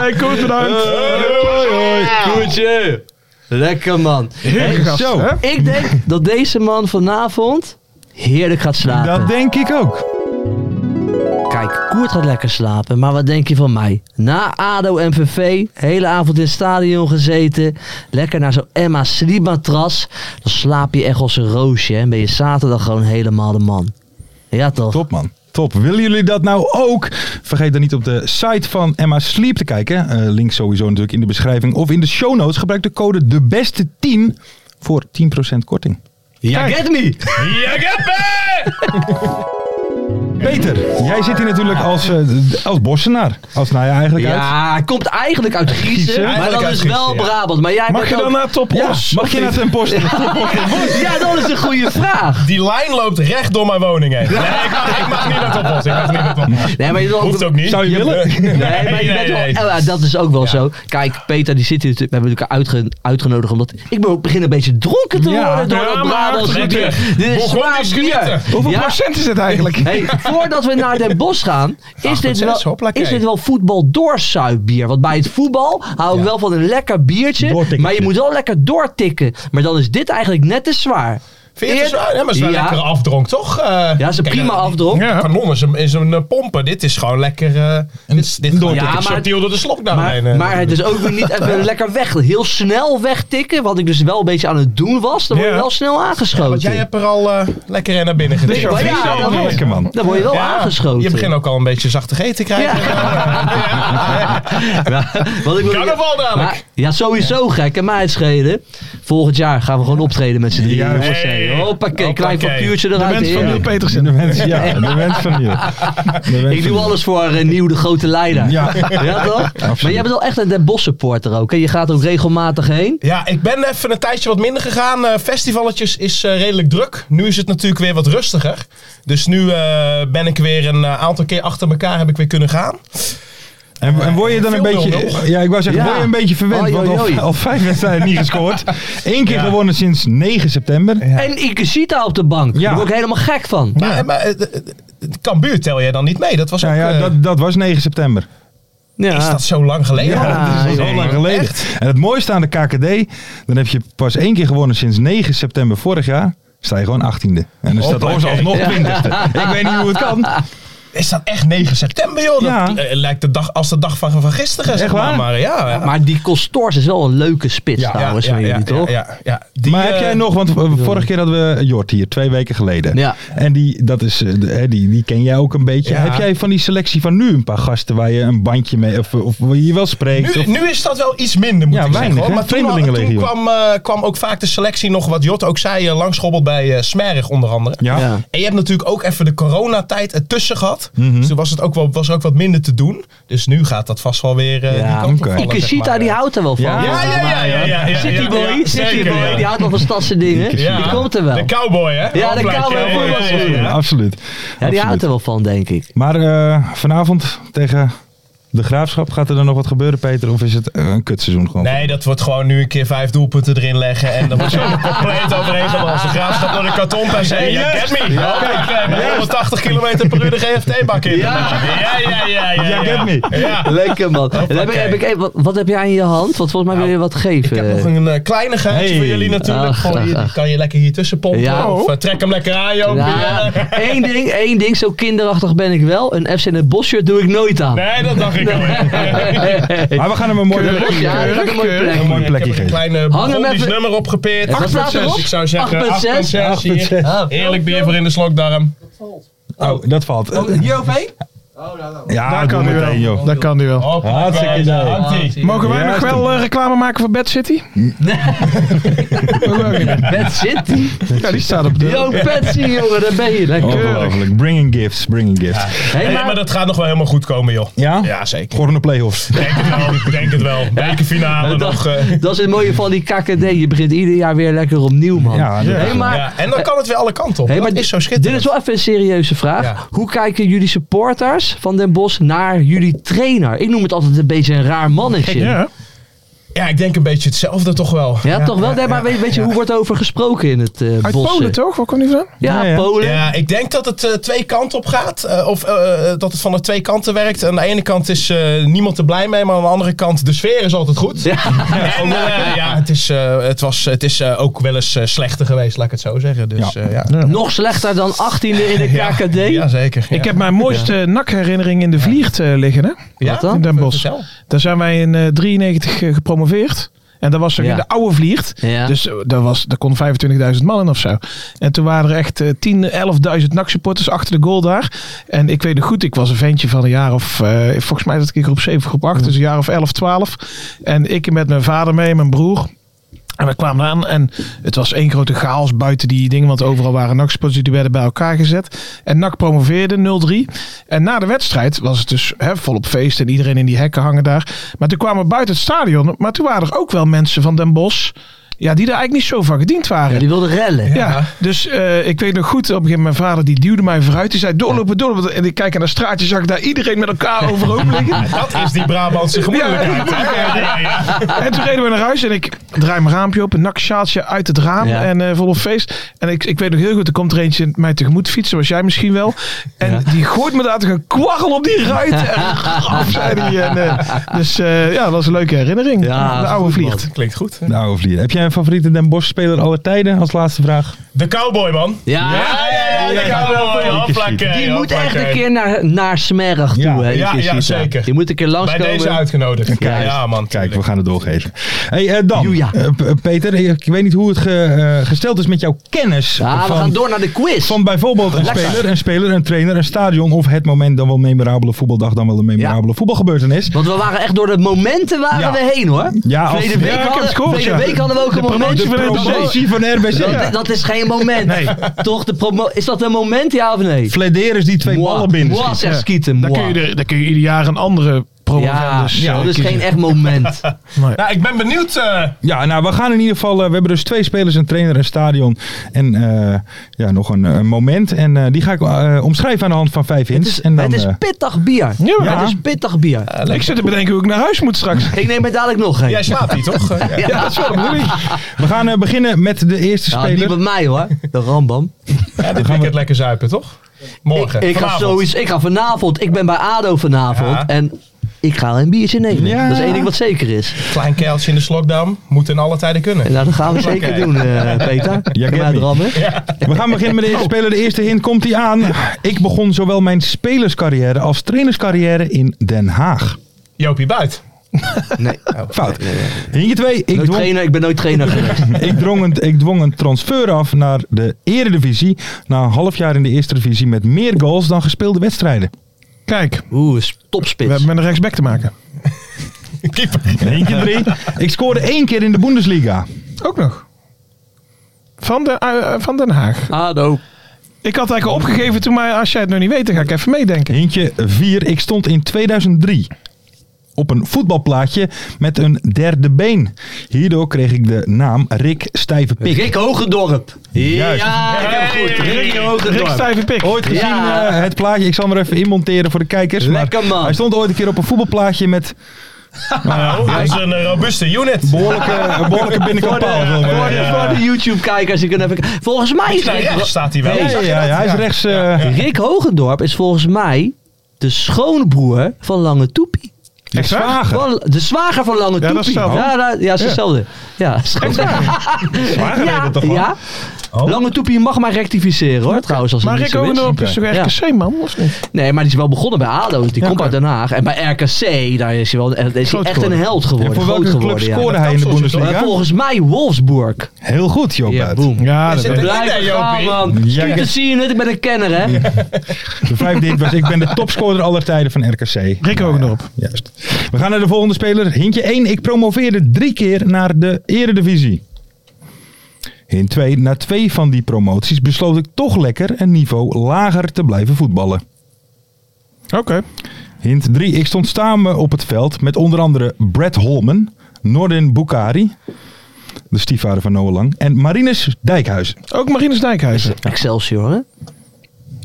S6: Hey, Koert, bedankt.
S3: Eh,
S4: Koertje! Lekker, man.
S6: Heerlijke gast,
S3: Zo.
S6: hè?
S4: Ik denk dat deze man vanavond heerlijk gaat slapen.
S3: Dat denk ik ook.
S4: Kijk, Koert gaat lekker slapen, maar wat denk je van mij? Na ADO en VV, hele avond in het stadion gezeten, lekker naar zo'n Emma Slimatras. Dan slaap je echt als een roosje hè, en ben je zaterdag gewoon helemaal de man. Ja toch?
S3: Top man. Top. Willen jullie dat nou ook? Vergeet dan niet op de site van Emma Sleep te kijken. Eh, link sowieso natuurlijk in de beschrijving of in de show notes. Gebruik de code de beste 10 voor 10% korting.
S4: Ja, get me!
S5: Ja, Geppe!
S3: Peter, jij zit hier natuurlijk als, eh, d- als bossenaar. Als nou ja, eigenlijk uit.
S4: Ja, hij komt eigenlijk uit Giezen, maar
S5: Eigenlijk
S4: dat
S5: uit
S4: is
S5: Giezen,
S4: wel
S5: ja.
S4: Brabant. Maar jij
S6: Mag
S4: bent
S6: je dan
S4: ook-
S6: naar Top
S3: Ja,
S6: Os?
S3: mag je naar ten poste?
S4: Ja, dat is een goede vraag.
S5: Die lijn loopt recht door mijn woning heen. Nee, ik mag, ik mag niet dat oplossen. Ik mag niet dat oplossen.
S4: Nee, maar je
S5: Hoeft ook niet. eh,
S3: Zou je willen?
S4: Nee, maar je bent wel- ja, dat is ook wel zo. Kijk, Peter, die zit hier, natuurlijk- we hebben elkaar uitge, uitgenodigd omdat ik be- begin een beetje dronken te
S3: Ja.
S4: worden door
S6: Ja,
S4: dat
S6: maar
S4: Brabants
S5: hartstikke
S4: bier.
S5: lekker.
S4: Dit is
S5: Begon
S4: zwaar
S5: is
S4: bier.
S5: genieten.
S6: Hoeveel
S4: Ja.
S6: procent is het eigenlijk?
S4: Hey, voordat we naar Den Bosch gaan, is, dit
S5: 8,6,
S4: wel,
S5: hoppakee.
S4: is dit wel voetbal doorsuipbier? Want bij het voetbal hou ik wel van een lekker biertje,
S3: Doortikkertje.
S4: maar je moet wel lekker doortikken. Maar dan is dit eigenlijk net te zwaar.
S5: Vind je het
S4: Eer-
S5: zo? Ja, maar ze is wel
S4: Ja.
S5: lekker afdronk, toch? Eh,
S4: Ja, ze
S5: kijk,
S4: prima
S5: eh,
S4: afdronk.
S5: Ja. Kanon is een, is een eh, pomper. Dit is gewoon lekker. eh dit is, dit gaat
S4: Ja,
S5: lekker
S4: maar-
S5: subtiel door de slokdown
S4: Maar,
S5: heen. eh.
S4: maar het is ook weer niet even lekker weg. Heel snel wegtikken. Wat ik dus wel een beetje aan het doen was. Dan word je
S5: Ja.
S4: wel snel aangeschoten.
S5: Want jij hebt er al eh, lekker in naar binnen
S4: Nee,
S5: getikt.
S4: maar
S5: Of niet?
S4: ja,
S5: Zo,
S4: dat
S5: nee.
S4: wel.
S3: Lekker man.
S4: Dan word je wel
S5: Ja,
S4: aangeschoten.
S5: Je begint ook al een beetje zachte G te krijgen.
S4: Ja, wat ik wil-
S5: Carnaval dadelijk.
S4: Maar- Ja, sowieso gek. En mij het schelen. Volgend jaar gaan we gewoon optreden met z'n drieën.
S3: Juist.
S4: jongens.
S5: Hey.
S4: Hoppakee,
S5: Hoppakee.
S4: klein papiertje
S6: De
S4: eruit.
S6: mens van
S4: heren.
S6: Neil Petersen.
S3: De mens, ja, de mens van hier. De mens
S4: Ik
S3: van
S4: doe
S3: hier.
S4: alles voor eh, Nieuw, de grote leider.
S3: Ja.
S4: Ja, toch? Maar jij bent wel echt een Den Bosch supporter ook. Hè? Je gaat ook regelmatig heen.
S5: Ja, ik ben even een tijdje wat minder gegaan. Eh, festivalletjes is eh, redelijk druk. Nu is het natuurlijk weer wat rustiger. Dus nu eh, ben ik weer een eh, aantal keer achter elkaar heb ik weer kunnen gaan.
S3: En, en word je dan een
S5: Veel
S3: beetje,
S5: nul-nul.
S3: ja, ik wou zeggen,
S4: Ja.
S3: word je een beetje verwend,
S4: Oei,
S3: want
S4: oei, oei.
S3: al, al vijf wedstrijden niet gescoord. Eén keer
S5: Ja.
S3: gewonnen sinds 9 september.
S4: En Ikesita op de bank.
S3: Ja.
S4: Daar word ik helemaal gek van.
S5: Maar, maar eh, eh, Cambuur tel jij dan niet mee? Dat was ook,
S3: Nou ja,
S5: eh,
S3: dat, dat was 9 september.
S4: Ja.
S5: Is dat zo lang geleden?
S4: Ja,
S5: Ja,
S4: dat is
S3: Zo lang geleden. En het mooiste aan de KKD, dan heb je pas één keer gewonnen sinds 9 september vorig jaar. Sta je gewoon 18e. En dan staat
S5: Hoppakee.
S3: ons alsnog 20e. Ik weet niet hoe het kan.
S5: Is dat echt 9 september, joh? Dat
S3: Ja.
S5: eh, lijkt de dag, als de dag van, van gisteren, zeg maar.
S3: waar?
S5: Maar ja, ja.
S4: Maar die Costors is wel een leuke spits trouwens van jullie,
S5: ja,
S4: toch?
S5: Ja, ja, ja. Die,
S3: maar heb
S5: eh,
S3: jij nog, want eh, vorige keer hadden we Jort hier, twee weken geleden.
S4: Ja.
S3: En die, dat is, eh, de- hè, die, die ken jij ook een beetje.
S5: Ja.
S3: Heb jij van die selectie van nu een paar gasten waar je een bandje mee, of, of waar je wel spreekt?
S5: Nu,
S3: of,
S5: nu is dat wel iets minder, moet
S3: Ja,
S5: ik
S3: weinig,
S5: zeggen.
S3: hè?
S5: hoor. Maar toen, al-
S3: Vreemdelingenlegioen.
S5: toen kwam, eh, kwam ook vaak de selectie nog, wat Jot ook zei, eh, langschobbeld bij eh, Smerig onder andere.
S3: ja.
S4: Ja.
S5: En je hebt natuurlijk ook even de coronatijd ertussen gehad.
S3: Mhm.
S5: Dus toen was, het ook wel, was er ook wat minder te doen. Dus nu gaat dat vast wel weer
S4: Ja,
S5: eh die kant op
S3: oké.
S5: vallen, zeg
S4: Ikesita
S5: maar.
S4: die houdt er wel van.
S3: Ja,
S5: Ja, ja, ja, ja, ja, ja,
S4: City
S5: ja,
S4: Boy,
S5: ja,
S4: City
S5: zeker,
S4: Boy,
S5: ja.
S4: die houdt wel van stadse dingen.
S5: Ja.
S4: Die komt er wel.
S5: De cowboy, hè?
S4: Ja, de
S5: Hopelijk,
S4: cowboy,
S5: ja,
S4: voor
S5: ja,
S4: ons.
S5: ja, ja.
S3: Ja, absoluut.
S4: Ja, die
S3: Absoluut.
S4: houdt er wel van, denk ik.
S3: Maar eh, vanavond tegen de Graafschap, gaat er dan nog wat gebeuren, Peter? Of is het eh, een kutseizoen gewoon?
S5: Nee, dat wordt gewoon nu een keer vijf doelpunten erin leggen. En dan wordt zo compleet overheen gewassen. Graafschap door de karton per se. Ja, get me. Oké, eh, met 180 km per uur de GFT-bak in. Ja, ja, ja. ja, ja,
S3: Ja, get me.
S5: Ja. Oh,
S4: Lekker man. En dan heb ik, heb ik even- wat, wat heb jij in je hand? Want volgens mij wil je wat geven.
S5: Nou, Ik heb nog een eh, kleine geheim
S3: Hey.
S5: voor jullie natuurlijk.
S4: Ach,
S5: Gooi je-
S4: ach,
S5: die
S4: ach.
S5: kan je lekker hier tussen pompen.
S4: Ja.
S5: Of eh, trek hem lekker aan, joh.
S4: Ja, één ding, één ding, zo kinderachtig ben ik wel. Een FC in het bosje doe ik nooit aan.
S5: Nee, dat dacht ik al.
S3: Maar we gaan hem een mooi
S4: Keurig, ja, dat is een mooi plek.
S3: Een mooi plekje
S5: Ik heb er een
S3: geven.
S5: kleine
S4: Hang hem
S5: Burgondisch
S4: even-
S5: nummer opgepeerd.
S4: En wat staat
S5: 8,6
S4: erop?
S5: ik zou zeggen.
S4: 8,6.
S5: 8,6 hier.
S3: 8,6.
S5: Heerlijk bier voor in de slokdarm.
S3: Oh, dat valt.
S4: Hieroverheen?
S3: Ja,
S6: Daar kan
S3: doe
S6: hij wel.
S3: meteen, joh.
S6: Daar kan hij wel.
S5: Hoppa,
S3: Hartstikke
S5: daar
S3: idee.
S5: hangt-ie.
S6: Mogen wij
S3: Ja,
S6: nog wel eh, reclame maken voor Bad City?
S4: Bad City.
S6: Ja, die staat op de...
S4: Yo, Patsy, jongen, daar ben
S5: Oh,
S4: je. Lekker.
S3: Ongelooflijk. Bringing gifts, bringing gifts.
S4: Hey,
S5: Nee, maar dat gaat nog wel helemaal goed komen, joh.
S3: Ja?
S5: Ja, zeker.
S3: Gewoon de play-offs.
S5: Ik denk het wel. Ik denk het wel. Bekerfinale
S4: dat,
S5: nog. eh.
S4: dat is het mooie van die KKD. Je begint ieder jaar weer lekker opnieuw, man.
S3: Ja, dat-
S4: hey, maar,
S5: ja, en dan kan het weer alle kanten op.
S4: hey, maar
S5: dat is zo
S4: Dit
S5: schitterend.
S4: is wel even een serieuze vraag.
S5: Ja.
S4: Hoe kijken jullie supporters van Den Bosch naar jullie trainer? Ik noem het altijd een beetje een raar mannetje. Ja,
S6: Ja.
S5: Ja, ik denk een beetje hetzelfde toch wel.
S4: toch wel? Nee, maar weet, weet je, hoe wordt er over gesproken in het eh
S6: Uit
S4: Bosch?
S6: Polen toch? Waar komt die vandaan?
S4: Ja,
S3: Ja, ja.
S4: Polen.
S5: Ja, ik denk dat het eh, twee kanten op gaat. Eh, of eh, dat het van de twee kanten werkt. Aan de ene kant is eh, niemand er blij mee, maar aan de andere kant, de sfeer is altijd goed.
S4: Ja.
S5: En, eh, ja, het is, eh, het was, het is eh, ook wel eens eh, slechter geweest, laat ik het zo zeggen. Dus,
S3: Ja.
S5: eh, ja.
S4: Nog slechter dan 18e in de
S5: Ja,
S4: KKD.
S5: Ja, zeker.
S6: Ik
S5: ja.
S6: heb mijn mooiste nakherinnering in de Vliert eh, liggen, hè?
S5: Ja?
S4: Wat dan?
S6: In Den Bosch.
S5: Vertel.
S6: Daar zijn wij in eh, 93 eh, gepromoveerd. En dat was er
S4: Ja.
S6: in de oude vliert.
S4: Ja.
S6: Dus eh, daar, was, daar kon 25.000 man in of zo. En toen waren er echt eh, 10, 11.000 NAC-supporters achter de goal daar. En ik weet het goed, ik was een ventje van een jaar of... eh, volgens mij dat ik in groep 7, groep
S4: Mm.
S6: 8. Dus een jaar of 11, 12. En ik met mijn vader mee, mijn broer. En we kwamen aan en het was één grote chaos buiten die dingen. Want overal waren NAC-supporters die werden bij elkaar gezet. En NAC promoveerde 0-3. En na de wedstrijd was het dus hè, volop feest en iedereen in die hekken hangen daar. Maar toen kwamen we buiten het stadion. Maar toen waren er ook wel mensen van Den Bosch. Ja, die daar eigenlijk niet zo van gediend
S4: Ja,
S6: waren.
S4: Die wilde rellen.
S6: Ja, dus eh, ik weet nog goed, op een gegeven moment mijn vader die duwde mij vooruit. Die zei doorlopen, doorlopen. En ik kijk naar de straatje, zag ik daar iedereen met elkaar overhoop liggen.
S5: Dat is die Brabantse gemoedelijkheid.
S6: Ja,
S5: Ja, ja, ja.
S6: En toen reden we naar huis en ik draai mijn raampje op. Een naksjaaltje uit het raam
S4: Ja.
S6: en eh volop feest. En ik, ik weet nog heel goed, er komt er eentje mij tegemoet fietsen, zoals jij misschien wel. En die gooit me daar toch een kwarrel op die ruit. En graf, zei die. En, eh, dus eh, ja, dat was een leuke herinnering.
S4: Ja,
S6: de oude
S4: goed,
S6: vliegt.
S5: Klinkt goed. hè?
S3: Nou, vliegen. Heb jij een favoriete Den Bosch speler aller tijden? Als laatste vraag.
S5: De cowboy, man.
S4: Ja,
S5: ja, ja, ja, de
S3: ja.
S5: cowboy. Hoppakee,
S4: Die moet echt
S5: hoppakee.
S4: een keer naar, naar Smerg toe.
S3: Ja.
S4: hè, die
S5: Ja,
S4: keer
S5: ja,
S4: zitten.
S5: zeker.
S4: Je moet een keer
S5: Bij
S4: langskomen.
S5: deze uitgenodigd. Ja,
S3: Kijk,
S5: ja, man.
S3: Kijk, we
S5: tuurlijk.
S3: gaan het doorgeven. Hey, eh, dan.
S4: Joeja.
S3: Eh, P- Peter, ik weet niet hoe het ge- eh, gesteld is met jouw kennis.
S4: Ja, we
S3: van,
S4: gaan door naar de quiz.
S3: Van bijvoorbeeld een
S4: Lekker.
S3: speler, een speler, een trainer, een stadion of het moment dan wel een memorabele voetbaldag, dan wel een memorabele voetbalgebeurtenis.
S4: Want we waren echt door de momenten waren
S3: Ja.
S4: we heen hoor.
S3: Ja, als-
S4: verleden
S3: Ja,
S4: week,
S3: ik heb
S4: hadden,
S3: het gehoord,
S4: verleden
S3: ja.
S4: week hadden we ook een moment.
S6: promotie van
S4: Dat-
S3: Promotie van RBC.
S4: Dat, dat is geen moment. Toch, de promo is dat een moment ja of nee?
S3: Flederis die twee
S4: Moi.
S3: ballen binnen.
S4: Moi,
S3: schiet.
S4: zegt Skieten.
S6: Dan
S4: moi.
S6: kun, je er, dan kun je ieder jaar een andere
S4: Ja,
S6: promovendus
S3: dus,
S4: ja,
S6: eh,
S4: dat is
S6: kiezen.
S4: geen echt moment.
S5: Nou, ik ben benieuwd. eh,
S3: Ja, nou, we gaan in ieder geval. eh, we hebben dus twee spelers, een trainer, een stadion. En eh, ja, nog een, een moment. En eh, die ga ik eh, omschrijven aan de hand van vijf hints.
S4: Het is,
S3: en dan,
S4: het is
S3: eh,
S4: pittig bier.
S6: Ja, maar-
S4: Het is pittig bier.
S6: Ik zit te bedenken hoe ik naar huis moet straks.
S4: Ik neem er dadelijk nog een.
S5: jij slaapt hier, toch? Eh, ja.
S4: Ja,
S3: we gaan eh, beginnen met de eerste
S4: Ja,
S3: speler.
S4: niet bij mij hoor. De Rambam.
S5: Ja, dit weekend lekker zuipen, toch? Morgen.
S4: ik, ik ga
S5: vanavond.
S4: zoiets. Ik ga vanavond. Ik ben bij ADO vanavond.
S5: Ja.
S4: En ik ga een biertje nemen.
S3: Ja.
S4: Dat is één ding wat zeker is.
S5: Klein keeltje in de slokdam. Moet in alle tijden kunnen.
S4: En nou, dat gaan we zeker
S5: Oké.
S4: doen, eh, Peter.
S3: get
S4: Kom uit,
S3: me.
S4: Rammen.
S3: We gaan beginnen met de
S4: Oh.
S3: eerste speler. De eerste hint komt hij aan. Ik begon zowel mijn spelerscarrière als trainerscarrière in Den Haag.
S5: Jopie Buit.
S4: Nee.
S3: Fout. Hintje twee. Ik
S4: Nooit
S3: dwong,
S4: trainer, ik ben nooit trainer geweest.
S3: ik, drong een, ik dwong een transfer af naar de Eredivisie. Na een half jaar in de Eerste Divisie met meer goals dan gespeelde wedstrijden.
S6: Kijk,
S4: Oeh, is
S6: we
S4: topspits.
S6: hebben met een rechtsback te maken.
S3: Eentje drie. Ik scoorde één keer in de Bundesliga.
S6: Ook nog. Van, de, eh, eh, van Den Haag.
S4: ADO.
S6: Ik had eigenlijk al opgegeven toen, maar als jij het nog niet weet, dan ga ik even meedenken.
S3: Hintje 4. Ik stond in 2003 op een voetbalplaatje met een derde been. Hierdoor kreeg ik de naam Rick Stijve Pik.
S4: Rick Hogendorp.
S3: Juist.
S4: Ja, ik heb het goed. Rick
S6: Rick
S4: Hogendorp.
S6: Stijve Pik.
S3: Ooit gezien
S4: Ja.
S3: eh, het plaatje. Ik zal hem er even inmonteren voor de kijkers.
S4: Lekker
S3: maar
S4: man.
S3: Hij stond ooit een keer op een voetbalplaatje met
S5: Nou, dat is een eh, robuuste unit.
S3: behoorlijke, een behoorlijke binnenkant paal.
S5: Voor de-
S3: zeg maar.
S4: Voor de, voor de YouTube-kijkers, die kunnen even... Volgens mij is
S5: Nee,
S4: Rick...
S5: rechts staat hij wel.
S4: Nee.
S3: Ja, ja, ja, hij is rechts. eh,
S4: Rick Hogendorp is volgens mij de schoonbroer van Lange Toepie.
S3: de zwager.
S4: Van- de zwager van Lange
S6: dat
S4: Toepie.
S6: is hetzelfde.
S4: Ja, dat- ja, is hetzelfde. Ja,
S3: Zwager heet
S4: ja,
S3: het toch wel?
S4: ja.
S3: Oh.
S4: Lange Toepie mag maar rectificeren hoor, trouwens. Als het
S6: Maar
S4: niet
S6: Rick
S4: zo is.
S6: Ogendorp is toch echt een C-man, of niet?
S4: Nee, maar die is wel begonnen bij ADO. Die komt uit Den Haag. En bij RKC, daar is hij, wel, is hij
S6: Groot
S4: echt een
S6: geworden.
S4: held geworden.
S3: En voor
S4: groot
S3: welke club
S4: geworden, ja.
S3: scoorde hij in de
S4: Maar
S3: Bundesliga?
S4: volgens mij Wolfsburg.
S3: Heel goed, Joop.
S4: Ja,
S3: Buit.
S4: boom.
S6: Ja, dat
S5: zit
S6: weet ik.
S5: er-
S4: Blijf
S5: Ja,
S4: gaan,
S5: Jopie.
S4: man.
S3: Ja,
S4: Kijk,
S3: ik-
S4: dat zie je het. Ik ben een kenner, hè.
S3: De vijfde hint was: Ik ben de topscorer aller tijden van RKC.
S6: Rick Hogendorp.
S3: Juist. We gaan naar de volgende speler. Hintje 1. Ik promoveerde drie keer naar de Eredivisie. Hint 2. Na twee van die promoties besloot ik toch lekker een niveau lager te blijven voetballen.
S6: Oké.
S3: Hint 3. Ik stond samen op het veld met onder andere Brad Holman, Nordin Bukari, de stiefvader van Noah Lang, en Marinus Dijkhuizen.
S6: Ook Marinus Dijkhuizen.
S4: Excelsior, hè.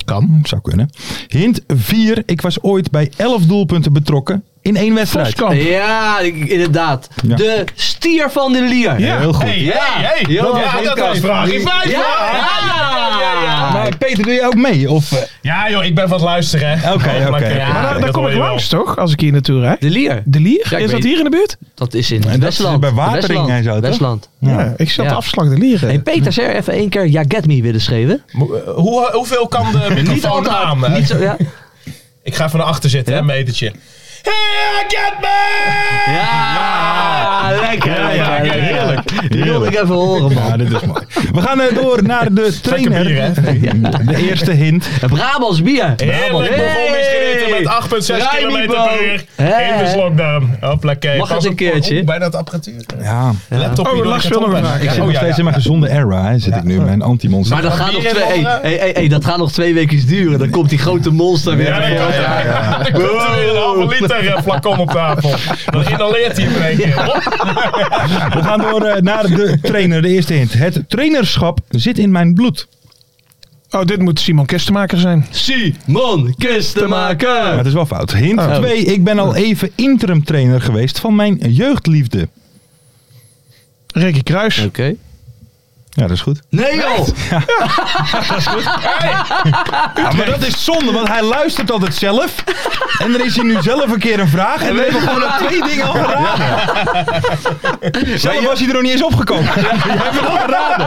S3: Kan. Zou kunnen. Hint 4. Ik was ooit bij 11 doelpunten betrokken in één wedstrijd.
S6: Voskamp.
S4: Ja, ik- inderdaad.
S3: Oh. Ja.
S4: De stier van de lier.
S3: Ja, heel goed.
S5: Hey,
S4: Ja.
S5: hey, hey.
S4: Ja,
S5: Dat-
S4: ja,
S5: ja, dat
S4: zeker.
S5: was vraag in
S4: Ja, ja,
S5: vijf.
S4: ja, ja, ja.
S3: Maar Peter, doe je ook mee? Of, eh,
S5: Ja, joh, ik ben van het luisteren. hè.
S3: Oké, oké.
S5: Hoppakee.
S3: Ja,
S4: nou,
S6: Maar daar, daar
S5: dat
S6: kom
S5: hoor
S6: ik
S5: je wel.
S6: langs, toch? Als ik hier naartoe rijd.
S4: De lier.
S6: De Lier?
S4: Ja, ik
S6: is dat
S4: weet-
S6: hier in de buurt?
S4: Dat is in
S3: dat is
S4: Westland.
S3: bij Watering
S4: Westland.
S3: en zo, toch?
S4: Westland.
S6: Ja. ik zat
S4: Ja.
S6: de afslag de Lier.
S4: Hey, Peter, zou je even één keer Ja Get Me willen schreven?
S5: Mo- eh, Hoe, hoeveel kan de microfoon aan? eh?
S4: Niet zo, ja.
S5: Ik ga even naar achter zitten,
S4: Ja?
S5: hè, metertje. Here, get me!
S4: Ja, Ah, lekker,
S5: Ja, ja,
S4: lekker,
S5: ja, heerlijk.
S4: Die wilde ik even horen, man.
S3: Ja, dit is mooi. We gaan eh, door naar de trainer.
S5: bier,
S3: De eerste hint.
S6: Oh,
S4: Brabants bier.
S5: Heerlijk begon is gereden met 8,6
S4: Rijnibo.
S5: km per uur.
S4: Hè?
S5: In de slokdown. Hoppakee.
S4: Mag
S5: Pas
S4: het een
S5: op- oh,
S4: keertje?
S5: Oeh, Bij dat apparatuur.
S3: Ja.
S5: Laptop
S6: Oh,
S5: hier,
S6: Lars
S5: door
S6: wil nog
S5: de
S6: een
S5: kant op.
S6: vraag.
S3: Ik
S5: Ja,
S3: zit
S5: oh,
S3: nog
S5: ja,
S3: steeds
S5: ja.
S3: in mijn gezonde era, hè, zit ik nu. Mijn anti-monster.
S4: Maar dat gaat, nog
S5: bier in
S4: twee, hey,
S5: handen.
S4: hey, hey, hey, dat gaat nog twee weken duren. Dan komt die grote monster weer.
S5: Ja, dan komt er- dan komt er weer een halve liter eh, flacon op tafel. Dan inhaleert hij hem in één keer. Hop.
S3: We gaan door eh, naar de trainer. De eerste hint. Het trainerschap zit in mijn bloed.
S6: Oh, dit moet Simon Kistemaker zijn.
S4: Simon
S3: Maar
S4: Kistenmaker.
S3: het is wel fout. Hint
S4: Oh.
S3: 2. Ik ben al even interim trainer geweest van mijn jeugdliefde.
S6: Ricky Kruis.
S4: Oké.
S3: Ja, dat is goed.
S4: Nee joh!
S3: Ja, maar dat is zonde, want hij luistert altijd zelf. En dan is hij nu zelf een keer een vraag. En we hebben gewoon aan twee dingen al geraden. Zelf was hij er nog niet eens opgekomen. Jij hebt het al geraden.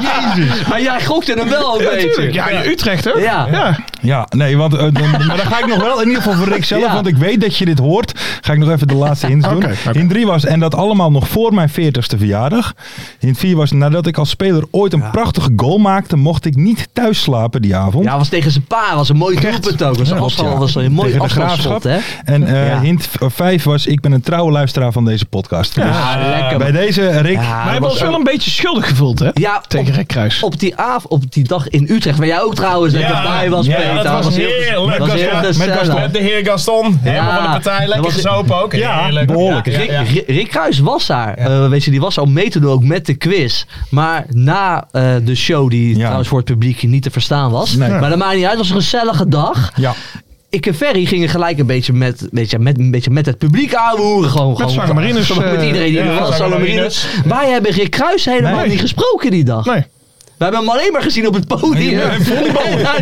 S3: Jezus.
S4: Maar jij gokte hem wel een
S6: Ja,
S4: beetje.
S6: natuurlijk. Ja, in Utrecht hè?
S4: Ja.
S6: ja.
S3: Ja, nee, want, eh, dan, maar dan ga ik nog wel, in ieder geval voor Rick zelf,
S4: Ja.
S3: want ik weet dat je dit hoort. Ga ik nog even de laatste hints doen.
S6: Oké, oké.
S3: Hint 3 was, en dat allemaal nog voor mijn 40ste verjaardag. Hint 4 was, nadat ik als speler ooit een prachtige goal maakte, mocht ik niet thuis slapen die avond.
S4: Ja, was tegen zijn pa. was een mooi doelpunt ook. Was, een
S3: klopt,
S4: afstand,
S3: ja.
S4: was een mooi
S3: Tegen de
S4: afstandsschot, hè?
S3: Graafschap. En eh,
S4: Ja.
S3: hint 5 was, ik ben een trouwe luisteraar van deze podcast. Dus
S4: Ja, lekker.
S3: bij deze, Rick.
S4: Ja,
S6: Maar
S4: dat
S6: hij was
S4: was
S6: wel
S4: ook-
S6: een beetje schuldig gevoeld hè?
S4: Ja,
S6: Tegen
S4: op,
S6: Rick Kruis.
S4: op die av- op die dag in Utrecht, waar jij ook trouwens lekker bij was,
S5: ja,
S4: Peter.
S5: dat was
S4: heel-
S5: heerlijk.
S4: was heel
S5: Ja, met
S4: gezellig.
S5: Met de heer Gaston, helemaal van de partij,
S4: Dat
S5: lekker
S4: was-
S5: gezopen ook.
S3: Ja,
S5: Heerlijk.
S3: behoorlijk.
S5: Ja,
S4: Rick,
S5: ja, ja.
S4: Rick- Rick Kruis was daar. Eh, weet je, die was al mee te doen ook met de quiz. Maar na eh, de show, die
S3: Ja.
S4: trouwens voor het publiek niet te verstaan was.
S3: Nee.
S4: Maar dat maakt niet uit, het was een gezellige dag.
S3: Ja.
S4: Ik en Ferry gingen gelijk een beetje met, weet je, met, een beetje met het publiek aanhoeren. Gewoon, gewoon,
S6: Zwarte Marinus,
S4: Met
S6: eh,
S4: iedereen die
S5: ja,
S4: er was.
S5: Zwarte
S4: Zwarte
S5: Marinus.
S4: Marinus. Wij hebben Rick Kruis helemaal
S3: Nee.
S4: niet gesproken die dag.
S6: Nee.
S4: We hebben hem alleen maar gezien op het podium.
S3: Ja,
S4: En daarna-
S6: Hij heeft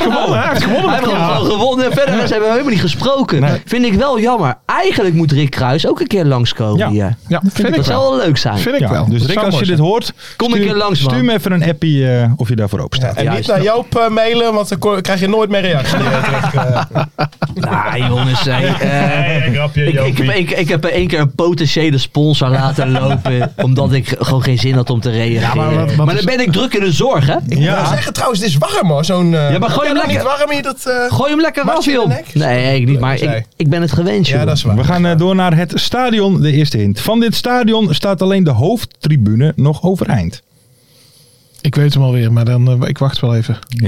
S6: gewonnen, hij heeft gewonnen.
S4: hij heeft gewoon gewonnen. Verder zijn we hebben helemaal niet gesproken. Vind ik wel jammer. Eigenlijk moet Rick Kruis ook een keer langskomen
S3: Ja.
S4: hier.
S6: Ja, vind ik
S4: Dat zou
S6: wel.
S4: wel leuk zijn.
S6: Vind ik
S3: Ja,
S6: wel.
S3: Dus
S6: Dat
S3: Rick,
S6: zou
S3: als je
S6: mooi
S3: dit
S6: zijn.
S3: hoort,
S4: Kom een
S3: stuur-
S4: keer langs, man.
S3: stuur me even een appie eh, of je daarvoor open staat.
S5: En niet
S4: Juist,
S5: naar
S4: dat-
S5: Joop eh, mailen, want dan ko- krijg je nooit meer reactie. Nee, terug, eh.
S4: Nou, jongens. hey, eh,
S5: Nee, grapje,
S4: Ik, ik,
S5: Joopie.
S4: heb, ik, ik heb één keer een potentiële sponsor laten lopen. omdat ik gewoon geen zin had om te reageren. maar, dan ben ik druk in de zorg, hè?
S5: Ik moet wel zeggen trouwens, het is warm hoor, zo'n... eh,
S4: Ja, maar gooi hem
S5: dat
S4: lekker.
S5: niet warm hier, dat... eh,
S4: Gooi hem lekker
S5: Mag
S4: was,
S5: je in de
S4: joh.
S5: nek?
S4: Nee, ik niet. Maar
S5: Leuk,
S4: ik,
S5: zei.
S4: ik ben het gewend, joh.
S5: ja, dat is waar.
S3: We gaan eh, door naar het stadion, de eerste hint. Van dit stadion staat alleen de hoofdtribune nog overeind.
S6: Ik weet hem alweer, maar dan, eh, ik wacht wel even.
S3: Wacht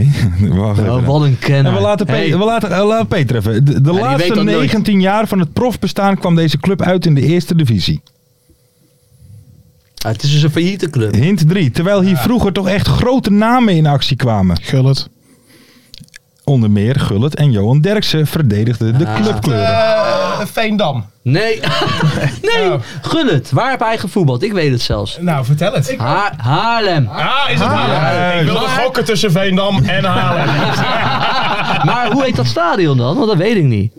S3: even.
S4: Oh, wat een kenner.
S3: En we laten, Pe-
S4: Hey.
S3: we laten, eh, laten Peter even. De, de
S4: die weet
S3: laatste
S4: dat nooit.
S3: 19 jaar van het profbestaan kwam deze club uit in de eerste divisie.
S4: Ah, het is dus een failliete club.
S3: Hint 3. Terwijl hier vroeger toch echt grote namen in actie kwamen.
S6: Gullet.
S3: Onder meer Gullit en Johan Derksen verdedigden de
S4: Ah.
S3: clubkleuren.
S5: Eh, Veendam.
S4: Nee, nee.
S5: Oh.
S4: gun het. Waar heb hij gevoetbald? Ik weet het zelfs.
S5: Nou, vertel het.
S4: Ha- Haarlem.
S5: Ah, is het Haarlem? Ik wilde
S4: Maar-
S5: gokken tussen Veendam en Haarlem.
S4: Maar hoe heet dat stadion dan? Want dat weet ik niet.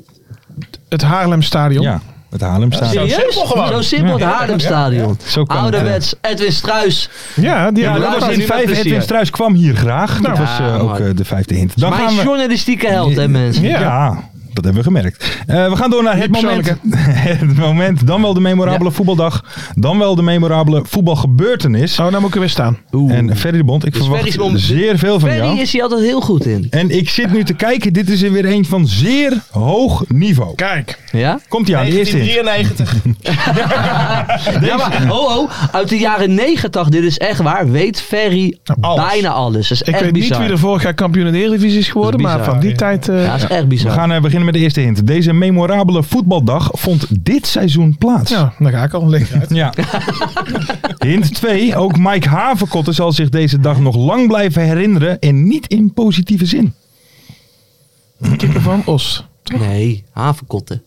S6: Het Haarlemstadion.
S3: Ja, het Haarlemstadion.
S5: Zo simpel gewoon.
S4: Zo simpel, het
S5: Ja.
S4: Haarlemstadion.
S3: Zo kan het,
S4: Ouderwets, Edwin Struis.
S6: Ja, die
S3: Ja,
S4: maar
S6: hadden
S3: dat
S4: laten
S3: was
S4: we
S3: in
S4: nu met
S3: 5.
S4: plezier.
S3: Edwin Struis kwam hier graag. Dat
S6: Nou,
S4: Ja,
S3: was eh, ook
S4: man.
S3: eh, de vijfde hint. Dan
S4: Mijn
S3: gaan we...
S4: journalistieke held, hè mensen.
S3: Ja. dat hebben we gemerkt. Eh, we gaan door naar het
S6: Niet
S3: moment. het moment. Dan wel de memorabele voetbaldag. Dan wel de memorabele voetbalgebeurtenis.
S6: Oh, nou moet ik er weer staan.
S4: Oeh.
S3: En Ferry de Bond, ik
S4: Dus
S3: verwacht
S4: Ferry is om-
S3: zeer veel van
S4: Ferry
S3: jou.
S4: is hij altijd heel goed in.
S3: En ik zit nu te kijken, dit is er weer een van zeer hoog niveau.
S6: Kijk.
S4: Ja?
S3: Komt hij aan, de eerste hint.
S5: 1993.
S4: Ja, maar ho, ho, uit de jaren negentig, dit is echt waar, weet Ferry
S5: alles.
S4: bijna alles. Dat is
S6: Ik
S4: echt
S6: weet
S4: bizar.
S6: niet wie er vorig jaar kampioen in de Eredivisie is geworden,
S4: Dat is
S6: maar
S4: bizar,
S6: van die
S5: ja.
S6: tijd... eh,
S4: Ja, dat is echt bizar.
S3: We gaan eh, beginnen met de eerste hint. Deze memorabele voetbaldag vond dit seizoen plaats.
S6: ja, daar ga ik al. Ligt eruit.
S3: Ja. Hint 2. Ook Mike Havenkotten zal zich deze dag nog lang blijven herinneren. En niet in positieve zin.
S6: Keeper van Os.
S4: Nee, havenkotten.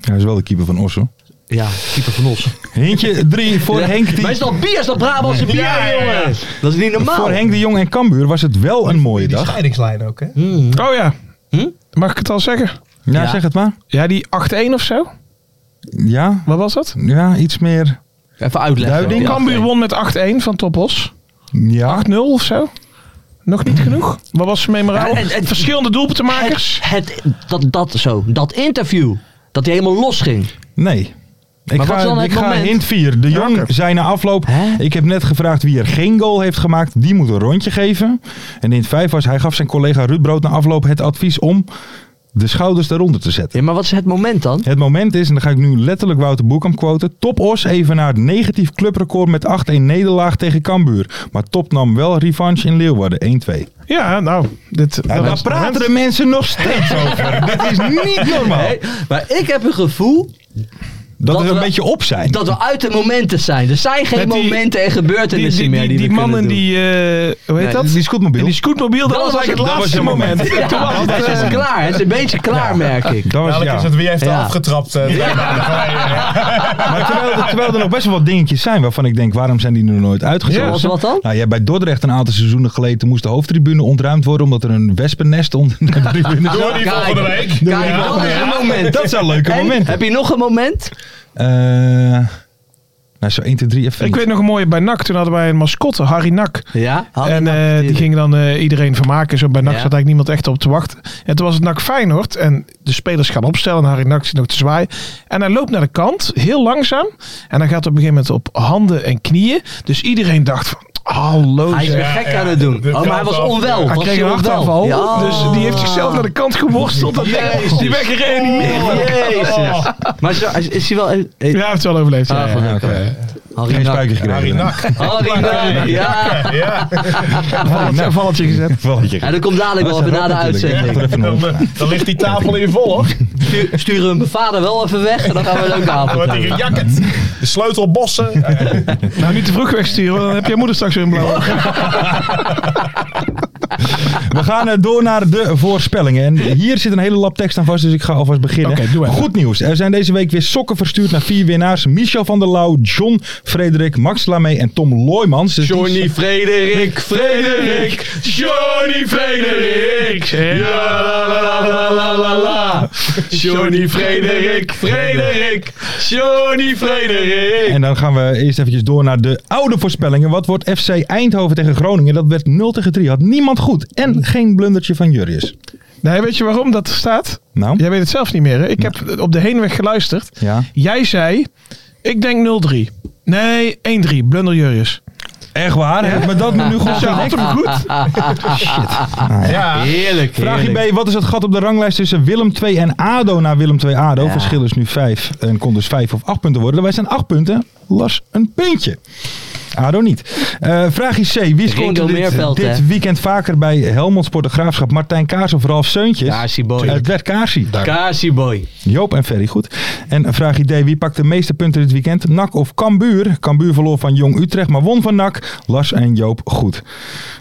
S3: Hij is wel de keeper van Osso.
S4: Ja, keeper van ons.
S3: Hintje 3. Voor,
S4: Ja,
S3: Henk die-
S4: Maar is dat bier? Is dat Brabantse bier,
S5: Ja, ja, ja.
S4: jongen? Dat is niet normaal.
S3: voor Henk de Jong en Cambuur was het wel een mooie
S5: Die
S3: dag.
S5: scheidingslijn ook, hè?
S4: Hmm.
S6: Oh ja.
S4: Hm?
S6: Mag ik het al zeggen?
S3: Ja,
S4: Ja.
S3: zeg het maar.
S6: Ja, die 8-1 of zo.
S3: Ja,
S6: Wat was dat?
S3: ja iets meer.
S4: Even uitleggen.
S3: Duiding.
S4: Ja,
S6: Cambuur
S4: oké.
S6: won met 8-1 van Topos.
S3: Ja,
S6: 8-0 of zo. Nog niet genoeg. Wat was ze memorabel?
S4: Ja, en- en-
S6: Verschillende doelpuntenmakers.
S4: Het, het, dat, dat, zo, dat interview. Dat hij helemaal los ging.
S3: nee. Ik
S4: Maar
S3: ga,
S4: wat is dan het
S3: ik ga
S4: moment?
S3: hint 4. De Jong zei na afloop.
S4: Hè?
S3: Ik heb net gevraagd wie er geen goal heeft gemaakt. Die moet een rondje geven. En hint 5 was hij gaf zijn collega Ruud Brood na afloop het advies om de schouders eronder te zetten.
S4: Ja, maar wat is het moment dan?
S3: Het moment is, en dan ga ik nu letterlijk Wouter Boekham quoten. Top Os evenaart negatief clubrecord met 8-1 nederlaag tegen Cambuur. Maar Top nam wel revanche in Leeuwarden 1-2.
S6: Ja, nou. Dit,
S3: En daar
S6: was-
S3: praten de mensen nog steeds over. Dat is niet normaal.
S4: Nee, maar ik heb een gevoel
S3: Dat,
S4: Dat
S3: we er een
S4: we-
S3: beetje op zijn.
S4: Dat we uit de momenten zijn. Er zijn geen
S6: Met die-
S4: momenten en
S6: Die,
S4: gebeurtenissen
S6: die,
S4: meer
S6: die,
S4: die,
S6: die
S4: we kunnen
S6: mannen
S4: doen.
S6: die, eh hoe heet
S4: Nee,
S6: dat?
S3: Die scootmobiel.
S6: Die scootmobiel, dat,
S4: Dat
S6: was
S4: was
S6: eigenlijk
S3: het-
S6: het
S3: dat was
S6: laatste
S3: het moment.
S6: moment. eh,
S4: Ja,
S6: Toen was het
S4: het is
S6: eigenlijk-
S4: klaar. Het is een beetje klaar, merk ik.
S3: Dat was,
S5: Dadelijk
S3: ja.
S5: is het wie heeft er
S4: Ja.
S5: afgetrapt. eh, twee maanden geleden.
S3: Maar terwijl, terwijl er nog best wel wat dingetjes zijn waarvan ik denk, waarom zijn die er nooit uitgezonden?
S4: Zoals wat dan?
S3: Nou, jij bij Dordrecht een aantal seizoenen geleden moest de hoofdtribune ontruimd worden omdat er een wespennest onder de tribune zat.
S5: Door die volgende week.
S4: Kijk,
S5: Ja.
S4: dat is een moment.
S3: Dat zijn leuke
S4: En,
S3: momenten.
S4: Heb je nog een moment?
S3: Eh, nou, zo 1, 2, 3 even.
S6: Ik weet nog een mooie bij NAC. Toen hadden wij een mascotte, Harry Nak.
S4: Ja. Harry
S6: En
S4: Nak,
S6: eh, die
S4: natuurlijk.
S6: ging dan eh, iedereen vermaken. Zo bij NAC
S4: Ja.
S6: zat eigenlijk niemand echt op te wachten. En toen was het NAC Feyenoord. En de spelers gaan opstellen. En Harry Nak zit nog te zwaaien. En hij loopt naar de kant. Heel langzaam. En hij gaat op een gegeven moment op handen en knieën. Dus iedereen dacht van... Hallo
S4: Hij is
S6: zeg.
S4: weer gek aan het doen.
S5: De
S4: Oh, maar hij
S5: kant
S4: was
S5: af.
S4: onwel.
S6: Hij
S4: Was
S6: kreeg een
S4: onwel?
S6: hartaanval.
S4: Ja.
S6: Dus die heeft zichzelf naar de kant geworsteld. Dat
S4: Jezus.
S6: die werd gereanimeerd.
S4: Jezus. Maar is, is, is hij wel... eh, eh,
S6: Ja, hij heeft het wel overleefd. ja.
S4: ah, gelukkig. Harry
S3: geen
S4: Nak.
S3: spijker gekregen.
S5: Harry nou, Nacht.
S4: Harry Nak, ja.
S5: Ja,
S6: Valletje- valletje gezet.
S3: Valletje.
S4: En dat komt dadelijk wel even na de
S3: Laat er
S4: uitzending.
S3: even
S5: dan,
S3: op.
S5: eh, dan ligt die tafel in vol hoor.
S4: Stuur- Sturen we mijn vader wel even weg en dan gaan we een leuke
S5: Dan
S4: avond
S5: wordt
S4: hebben.
S5: die gejakkerd. De Eh, sleutelbossen.
S6: Nou, niet te vroeg wegsturen, want dan heb je moeder straks weer in blauw.
S3: We gaan eh, door naar de voorspellingen. En hier zit een hele lap tekst aan vast, dus ik ga alvast beginnen.
S6: Oké, doe even.
S3: Goed nieuws. Er zijn deze week weer sokken verstuurd naar vier winnaars. Michel van der Lauw, John Frederik, Max Lamee en Tom Loijmans. Dus die-
S4: Frederik,
S6: Frederik, Johnny Frederik. Ja, la, la, la, la, la, la. Johnny Frederik, Frederik, Johnny Frederik.
S3: En dan gaan we eerst eventjes door naar de oude voorspellingen. Wat wordt FC Eindhoven tegen Groningen? Dat werd 0 tegen 3. Had niemand goed. En geen blundertje van Jurrius.
S6: Nee, weet je waarom dat er staat?
S3: Nou,
S6: Jij weet het zelf niet meer, hè? Ik heb op de heenweg geluisterd.
S3: ja.
S6: Jij zei, ik denk 0-3. Nee, 1-3, Blunder Jurrius.
S3: Echt waar, hè? Maar dat moet nu goed
S6: Dus je
S3: zijn.
S6: had hem goed.
S5: Ja.
S4: Heerlijk,
S3: Vraagje
S4: heerlijk.
S3: B. Wat is het gat op de ranglijst tussen Willem 2 en ADO na Willem 2 ADO?
S4: Ja.
S3: Verschil is nu 5 en kon dus 5 of 8 punten worden. Wij zijn 8 punten. Lars een puntje. ADO niet. Eh vraagje C. Wie scoort
S4: Ringo
S3: dit,
S4: Meerveld,
S3: dit
S4: hè?
S3: weekend vaker bij Helmond Sport de Graafschap? Martijn Kaars of Ralf Seuntjes?
S4: Kaasieboy.
S3: Het werd Kaarsie.
S4: Kaasieboy.
S3: Joop en Ferry, goed. En vraag idee, wie pakt de meeste punten dit weekend? NAC of Cambuur? Cambuur verloor van Jong Utrecht, maar won van NAC. Lars en Joop, goed.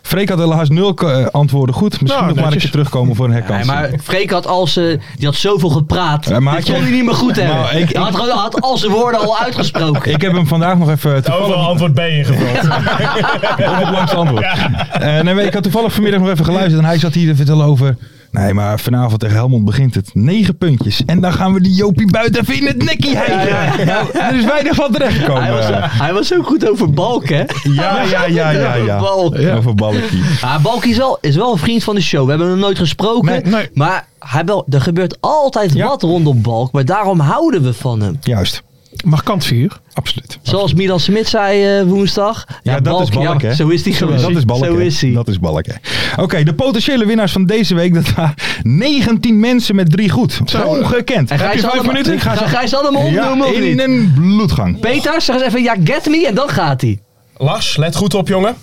S3: Freek had helaas nul eh, antwoorden goed. Misschien
S6: Nou,
S3: nog maar een
S6: netjes.
S3: keer terugkomen voor een
S4: Nee,
S3: herkans.
S4: maar Freek had al ze, die had zoveel gepraat.
S3: Ja, maar
S4: dat
S3: had
S4: kon
S3: je-
S4: hij niet meer goed hebben.
S3: Nou, ik-
S4: hij had, gewoon- had al zijn woorden al uitgesproken.
S3: Ik heb hem vandaag nog even toevallig
S5: Overal antwoord B ingevuld.
S3: op het langste antwoord. Eh, nee, maar ik had toevallig vanmiddag nog even geluisterd en hij zat hier te vertellen over... Nee, maar vanavond tegen Helmond begint het. Negen puntjes. En dan gaan we die Jopie buiten even in het nekkie hijgen. Nou, er is weinig van terechtkomen.
S4: hij, was, hij was ook goed over Balk, hè?
S3: Ja, ja, ja, ja.
S4: Over
S3: ja.
S4: Balk.
S3: Over balkie.
S4: Maar Balk is wel, is wel een vriend van de show. We hebben hem nooit gesproken.
S3: Nee, nee.
S4: Maar hij wel, er gebeurt altijd
S3: Ja.
S4: wat rondom Balk. Maar daarom houden we van hem.
S3: Juist.
S6: Markant figuur.
S3: Absoluut.
S4: Zoals Milan Smit zei eh, woensdag.
S3: Ja, dat is Balk, hè?
S4: Zo is hij gewoon.
S3: Dat is balken.
S4: Zo is hij.
S3: Dat is balken. Oké, de potentiële winnaars van deze week, dat waren 19 mensen met drie goed. Ongekend.
S4: En ga je ze allemaal,
S3: Ik
S4: ga,
S3: ga ze
S4: ga je ze allemaal opnoemen
S3: ja,
S4: of
S3: in
S4: niet?
S3: een bloedgang.
S4: Peter, zeg eens even ja, get me en dan gaat hij.
S5: Lars, let goed op jongen.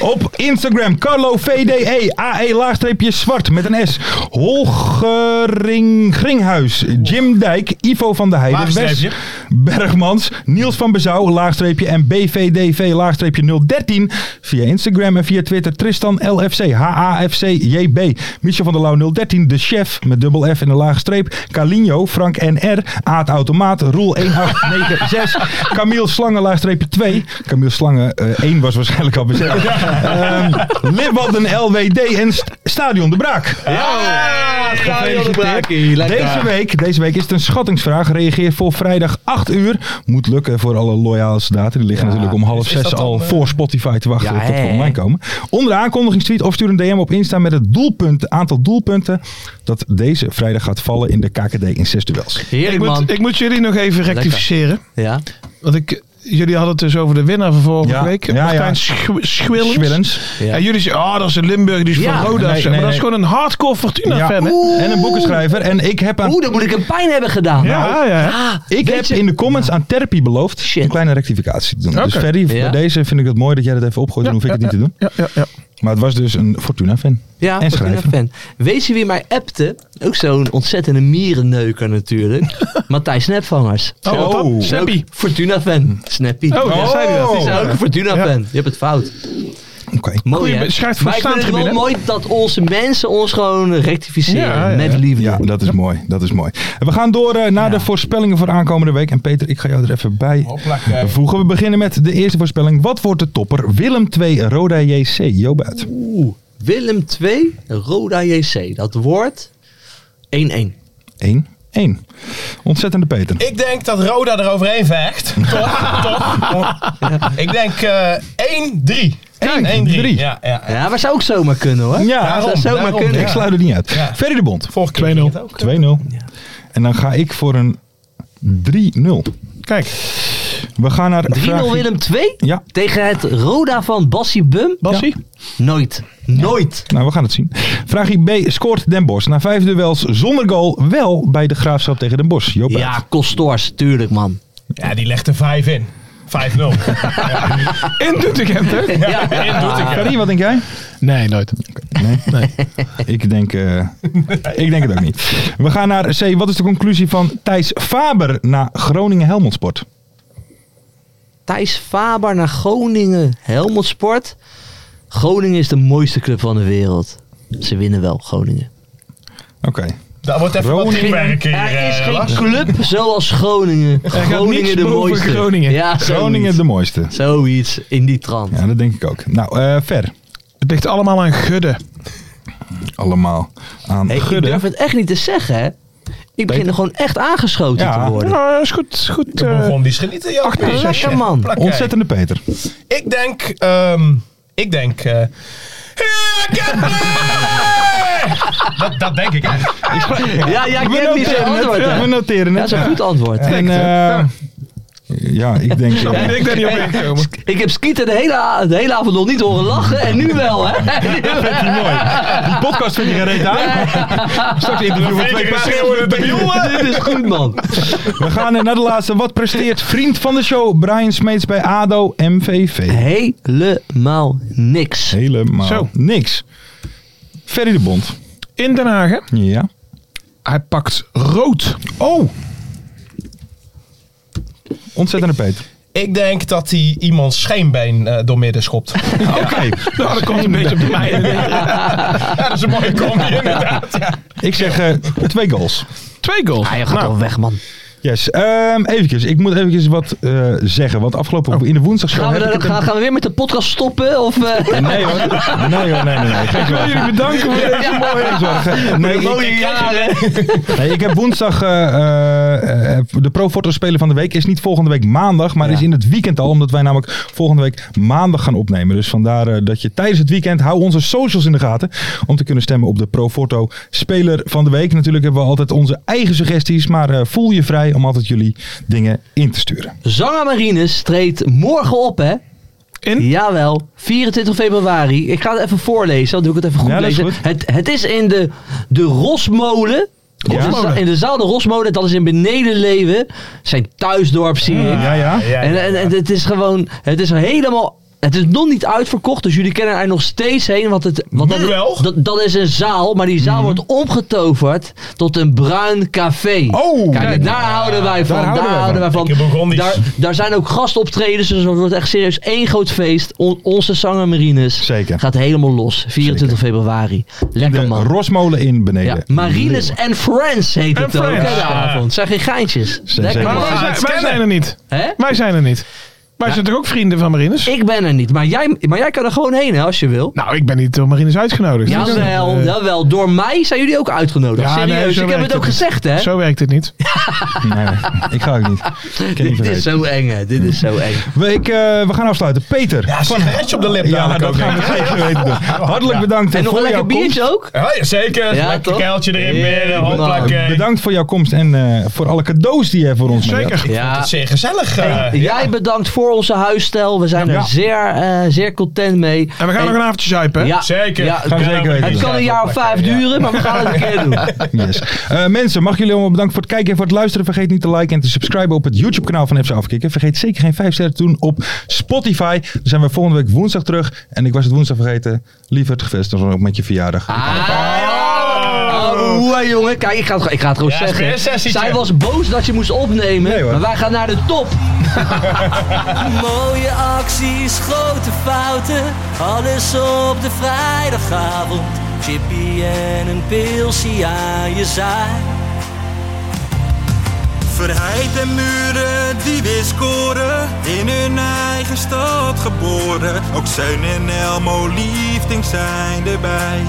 S3: Op Instagram, Carlo VDE, AE E laagstreepje zwart met een S. Holgering Gringhuis, Jim Dijk, Ivo van der Heijden, Wes
S5: Laagstreepje.
S3: Bergmans, Niels van Bezouw, laagstreepje en BVDV, laagstreepje 013. Via Instagram en via Twitter, Tristan LFC, HAFC, JB, Michel van der Lauw 013, De Chef met dubbel F en een lage streep, Calinho, Frank NR, Aad Automaat, Roel 1896, Camille Slangen, laagstreepje 2. Camille Slangen eh, 1 was waarschijnlijk al bezet. Ehm Libwadden LWD en St- Stadion de Braak.
S5: Ah,
S4: Ja, Gabriel de Braakie.
S3: Deze week, deze week is het een schattingsvraag. Reageer voor vrijdag 8 uur. Moet lukken voor alle loyale soldaten. Die liggen natuurlijk om
S4: dus
S3: half
S5: dat
S3: zes
S5: dan,
S3: al
S5: eh,
S3: voor Spotify te wachten
S4: Ja,
S3: tot we
S4: hè?
S3: online komen. Onder de aankondigingstweet of stuur een DM op Insta met het doelpunt, aantal doelpunten dat deze vrijdag gaat vallen in de KKD in zes duels.
S6: Ik
S4: Heerlijk man.
S6: moet, ik moet jullie nog even rectificeren.
S4: Ja.
S6: Want ik, jullie hadden het dus over de winnaar van vorige
S3: Ja,
S6: week.
S3: ja,
S6: Martijn
S3: ja.
S6: Schw- Schwillens.
S3: Schwillens.
S4: Ja.
S6: En jullie zeggen, oh, dat is een Limburg, die is
S4: Ja.
S6: van Roda.
S3: Nee,
S6: of zo.
S3: nee,
S6: maar dat is
S3: nee.
S6: gewoon een hardcore Fortuna-fan. hè?
S3: Ja. En een boekenschrijver. En ik heb aan
S4: Nou, Oeh, dan moet ik een pijn hebben gedaan.
S6: Ja, ja.
S4: Ah,
S3: Ik
S4: weet
S3: heb
S4: je-
S3: in de comments aan therapie beloofd
S4: Shit.
S3: een kleine rectificatie te doen. Dus
S6: Oké.
S3: Ferry,
S4: Ja.
S3: bij deze vind ik het mooi dat jij dat even opgooit. Dan hoef ik het niet te doen.
S6: Ja, ja, ja.
S3: Maar het was dus een Fortuna-fan.
S4: Ja,
S3: en
S4: Fortuna
S3: schrijver.
S4: fan. Weet je wie mij appte? Ook zo'n ontzettende mierenneuker natuurlijk. Matthijs Snapvangers.
S6: Oh, wat dan?
S3: Oh.
S6: Snappy.
S4: Ook Fortuna fan. Snappy.
S6: Oh, ja, zei hij dat?
S4: Die zijn ook een Fortuna fan. Je hebt het fout.
S3: Oké.
S4: Mooi
S6: Goeie,
S4: hè?
S6: schrijft voor
S4: Maar ik vind het wel
S6: staantribune.
S4: mooi dat onze mensen ons gewoon rectificeren.
S6: Ja, ja.
S4: Met liefde.
S3: Ja, dat is mooi. Dat is mooi. We gaan door eh, naar de voorspellingen voor aankomende week. En Peter, ik ga jou er even bij
S5: Hoppakee.
S3: voegen. We beginnen met de eerste voorspelling. Wat wordt de topper? Willem 2, Roda JC. Joop uit.
S4: Oeh. Willem 2, Roda JC. Dat wordt 1-1.
S3: 1, 1. Ontzettende Peter.
S5: Ik denk dat Roda er overheen vecht. Toch? Toch? Ik denk eh 1-3. 1-3.
S3: drie.
S5: Ja, ja.
S4: Ja, maar zou ook zomaar kunnen hoor.
S3: Ja,
S4: dat zou
S5: daarom,
S4: zomaar
S5: daarom,
S4: kunnen.
S3: Oh, Ik sluit er niet uit.
S5: Ja.
S3: Ferry de Bond. 2-0.
S5: Vorige keer ging het ook.
S4: eh,
S3: En dan ga ik voor een 3-0.
S6: Kijk,
S3: We gaan naar
S4: 3-0
S3: vraagje-
S4: Willem 2
S3: Ja.
S4: tegen het Roda van Bassie Bum.
S6: Bassie.
S4: Nooit. Nooit.
S3: Nou, we gaan het zien. Vraagje B. Scoort Den Bosch na vijf duels zonder goal wel bij de Graafschap tegen Den Bosch? Joop uit.
S4: Ja, Kostors, tuurlijk man.
S5: Ja, die legt er 5 in. 5-0.
S6: In Doetinchem, hè?
S4: Ja,
S5: in Doetinchem.
S3: Ferry, wat denk jij?
S6: Nee, nooit.
S3: Nee? Ik, denk, eh, ik denk het ook niet. We gaan naar C. Wat is de conclusie van Thijs Faber na Groningen Helmond Sport?
S4: Thijs Faber naar Groningen, Helmond Sport. Groningen is de mooiste club van de wereld. Ze winnen wel, Groningen.
S3: Oké.
S5: Dat wordt even wat
S3: Groningen.
S5: teamwerk hier.
S4: er is
S5: eh,
S4: geen
S5: Lars.
S4: club zoals Groningen. Groningen
S6: niks
S4: de
S6: boven
S4: mooiste.
S6: Groningen.
S4: Ja,
S3: Groningen
S4: zoiets.
S3: de mooiste.
S4: Zoiets in die trant.
S3: Ja, dat denk ik ook. Nou, eh, ver.
S6: Het ligt allemaal aan Gudde.
S3: Allemaal aan
S4: Hey, ik
S3: Gudde.
S4: durf het echt niet te zeggen, hè. Ik begin
S3: Peter?
S4: er gewoon echt aangeschoten
S3: Ja.
S4: te worden.
S6: Nou, is goed. goed
S5: De
S6: eh,
S5: Bourgond, die schieten jou.
S6: Ach,
S5: weer.
S4: lekker, man.
S5: Plakkei.
S3: Ontzettende Peter.
S5: Ik denk... ehm ik denk... eh Heerlijk! dat, dat denk ik echt.
S4: Ja, ja, ik
S3: We
S4: heb niet zo'n
S3: noteren het.
S4: antwoord. hè.
S3: We noteren
S4: Dat
S3: het.
S4: is een goed antwoord.
S3: En, eh, ja, ik denk... eh,
S6: Ik denk daar niet op inkomen.
S4: Ik heb Skeeter de hele, a- de hele avond nog niet horen lachen en nu wel, hè?
S3: Die podcast vind je gereed aan. Straks interview met twee
S5: Zeker een
S3: pagina's.
S5: schreeuwende debiel.
S4: Dit is goed, man.
S3: We gaan eh, naar de laatste. Wat presteert vriend van de show Brian Smeets bij ADO MVV?
S4: Helemaal niks.
S3: Helemaal
S6: Zo.
S3: niks. Ferry de Bond.
S6: In Den Haag, hè?
S3: Ja.
S6: Hij pakt rood.
S3: Oh! Ontzettende Peter.
S5: Ik denk dat hij iemands scheenbeen eh doormidden schopt.
S3: Oké.
S6: Nou, dat komt een beetje op de mij.
S5: ja, dat is een mooie combi inderdaad. Ja.
S3: Ik zeg eh, twee goals.
S6: Twee goals.
S4: Hij gaat
S6: Nou,
S4: al weg, man.
S3: Yes. Ehm eventjes. Ik moet eventjes wat eh, zeggen. Want afgelopen
S6: Oh.
S3: in de woensdag
S4: Gaan we, dan- gaan, gaan we weer met de podcast stoppen? Of, eh?
S3: Nee hoor. Nee hoor. Nee, nee, nee. Geen
S6: ik wil jullie bedanken voor deze
S3: mooie zorgen. Nee, ik-
S4: mooie jaren.
S3: Nee, ik heb woensdag eh, eh, eh, de Pro Forte Spelen van de Week. Is niet volgende week maandag, maar is in het weekend al. Omdat wij namelijk volgende week maandag gaan opnemen. Dus vandaar eh, dat je tijdens het weekend, hou onze socials in de gaten. Om te kunnen stemmen op de Pro Forto Speler van de Week. Natuurlijk hebben we altijd onze eigen suggesties. Maar eh, voel je vrij om altijd jullie dingen in te sturen.
S4: Zanger Marines treedt morgen op, hè?
S6: In?
S4: Jawel, 24 februari. Ik ga het even voorlezen, dan doe ik het even goed
S3: Ja, dat is
S4: lezen.
S3: goed.
S4: Het, het is in de, de Rosmolen. Of
S3: Ja.
S4: de za- in de zaal de Rosmolen, dat is in Benedenleeuwen. Zijn thuisdorp, zie ik.
S3: Mm, Ja, ja.
S5: Ja,
S4: En, en, en het is gewoon, het is helemaal, het is nog niet uitverkocht, dus jullie kennen er nog steeds heen. Want, het, want
S5: Nu
S4: dat,
S5: wel.
S4: Dat, dat is een zaal, maar die zaal
S3: Mm.
S4: wordt omgetoverd tot een bruin café.
S3: Oh,
S4: Kijk,
S3: kijk.
S4: daar houden wij van, daar houden wij van.
S5: Lekker Bourgondisch.
S4: Daar, daar zijn ook gastoptredens, dus het wordt echt serieus één groot feest. On- onze zanger Marines
S3: Zeker.
S4: gaat helemaal los, 24 februari. Lekker
S3: De
S4: man.
S3: Rosmolen in beneden.
S4: Ja, Marines and Friends heet het ook.
S6: Friends.
S4: hè, de avond. Zijn geen geintjes. Lekker
S3: zeker.
S6: Maar
S4: man.
S6: wij zijn, wij zijn er niet.
S4: Hè?
S6: Wij zijn er niet. Wij zijn toch ook vrienden van Marines?
S4: Ik ben er niet, maar jij, maar jij kan er gewoon heen hè, als je wil.
S6: Nou, ik ben niet door Marines uitgenodigd.
S4: Jawel,
S6: Eh,
S4: jawel. Door mij zijn jullie ook uitgenodigd.
S6: Ja, nee,
S4: Serieus,
S6: zo
S4: ik heb
S6: werkt
S4: het ook
S6: het niet.
S4: gezegd, hè?
S6: Zo werkt het niet.
S3: Nee, ik ga ook niet. Ik ken niet
S4: Dit is
S3: vergeten.
S4: zo eng, hè? Dit is zo eng.
S3: We, ik, eh, we gaan afsluiten. Peter.
S5: Ja, sigaretje op de lip
S3: Ja,
S5: dadelijk
S3: dat
S5: ook,
S3: gaan we
S5: denk ik.
S3: zeker weten doen. Hartelijk bedankt
S4: En nog
S3: voor
S4: een lekker
S3: jouw komst.
S4: biertje ook?
S5: Ja, zeker.
S4: Ja,
S5: Lekker
S4: toch?
S5: keiltje erin binnen.
S4: Nou,
S5: Hoppakee.
S3: Bedankt voor jouw komst en eh, voor alle cadeaus die jij voor ons mee
S6: Zeker.
S5: Het
S4: Ja.
S5: is zeer gezellig. eh.
S4: Jij bedankt voor
S5: onze huisstijl. We zijn
S3: Ja.
S5: er zeer, eh, zeer content mee.
S6: En we gaan nog een avondje zuipen, hè?
S5: Ja,
S8: Zeker.
S5: ja,
S3: Gaan we zeker weten.
S5: het kan een jaar of vijf duren, maar we gaan het een keer doen.
S3: Yes. Eh, mensen, mag jullie allemaal bedanken voor het kijken en voor het luisteren. Vergeet niet te liken en te subscriben op het YouTube kanaal van FC Afkikken. Vergeet zeker geen 5 sterren te doen op Spotify. Dan zijn we volgende week woensdag terug. En ik was het woensdag vergeten. Lieverd, gefeliciteerd dan ook met je verjaardag.
S5: Ah, oeh, jongen. Kijk, ik ga het, ik ga het gewoon
S8: Ja, het is weer een
S5: zeggen.
S8: sessietje.
S5: Zij was boos dat je moest opnemen,
S3: Nee, hoor.
S5: maar wij gaan naar de top.
S4: Mooie acties, grote fouten, alles op de vrijdagavond. Chippy en een pilsie aan je zaai.
S2: Verheid en muren die weer scoren, in hun eigen stad geboren. Ook Zijn en Elmo liefding zijn erbij.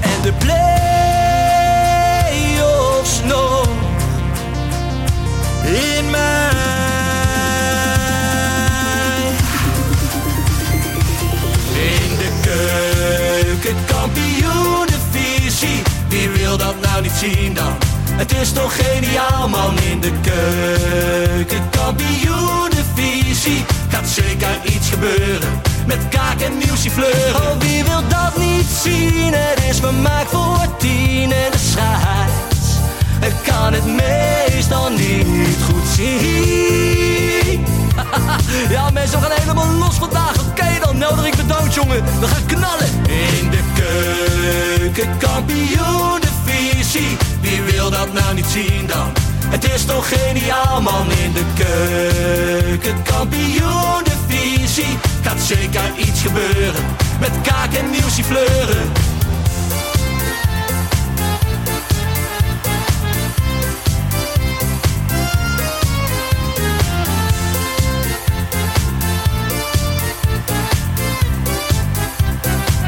S4: En de play-offs nog.
S2: In mij.
S4: In de keuken, kampioenenvisie. Wie wil dat nou niet zien dan? Het is toch geniaal man in de keuken, kampioenenvisie. Gaat zeker iets gebeuren met kaak en nieuwsie fleuren. Oh, wie wil dat niet zien? Het is vermaakt voor tien en de scheids. Ik kan het meestal niet goed zien. Ja, mensen, we gaan helemaal los vandaag. Oké, dan nodig ik bedankt, jongen. We gaan knallen. In de keuken, kampioen, de visie. Wie wil dat nou niet zien dan? Het is toch geniaal, man. In de keuken, kampioen, de visie. Gaat zeker iets gebeuren. Met kaak en nieuwsie fleuren.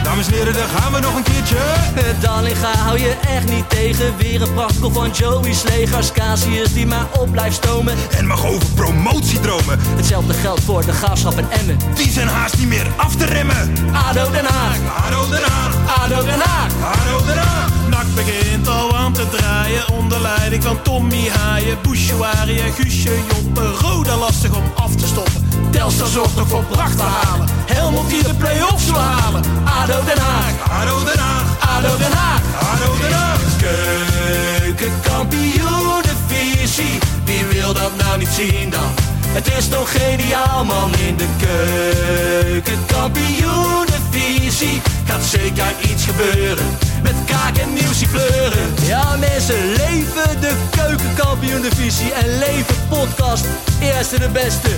S2: Dames en heren, daar gaan we nog een keertje.
S4: Eh, Dallinga hou je echt niet tegen. Weer een prachtkel van Joey's legers. Casius die maar op blijft stomen.
S2: En mag over promotiedromen,
S4: Hetzelfde geldt voor de graafschap en Emmen.
S2: die zijn haast niet meer af te remmen.
S4: ADO Den Haag,
S2: Haro Den Haag,
S4: ADO Den Haag.
S2: Haro Den Haag.
S6: Nak begint al aan te draaien onder leiding van Tommy Haaien, Bouchouari en Guusje Joppen. Roda lastig om af te stoppen.
S4: Telstar zorgt nog voor pracht te halen. Helmond die de play-offs wil halen. ADO Den Haag,
S2: Haro Den Haag,
S4: ADO Den Haag.
S2: Haro Den Haag.
S4: Keukenkampioenenvisie. Wie wil dat nou niet zien dan? Het is toch geniaal man in de keukenkampioenenvisie. Gaat zeker iets gebeuren. Met kaak en nieuwsie kleuren. Ja mensen, leven de keukenkampioenenvisie. En leven podcast. Eerste de beste.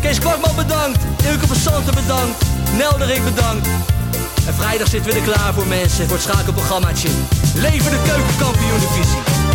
S4: Kees Kwakman bedankt. Ilke van Santen bedankt. Nelderik bedankt. En vrijdag zitten we er klaar voor mensen, voor het schakelprogrammaatje. Leven de keukenkampioen divisie.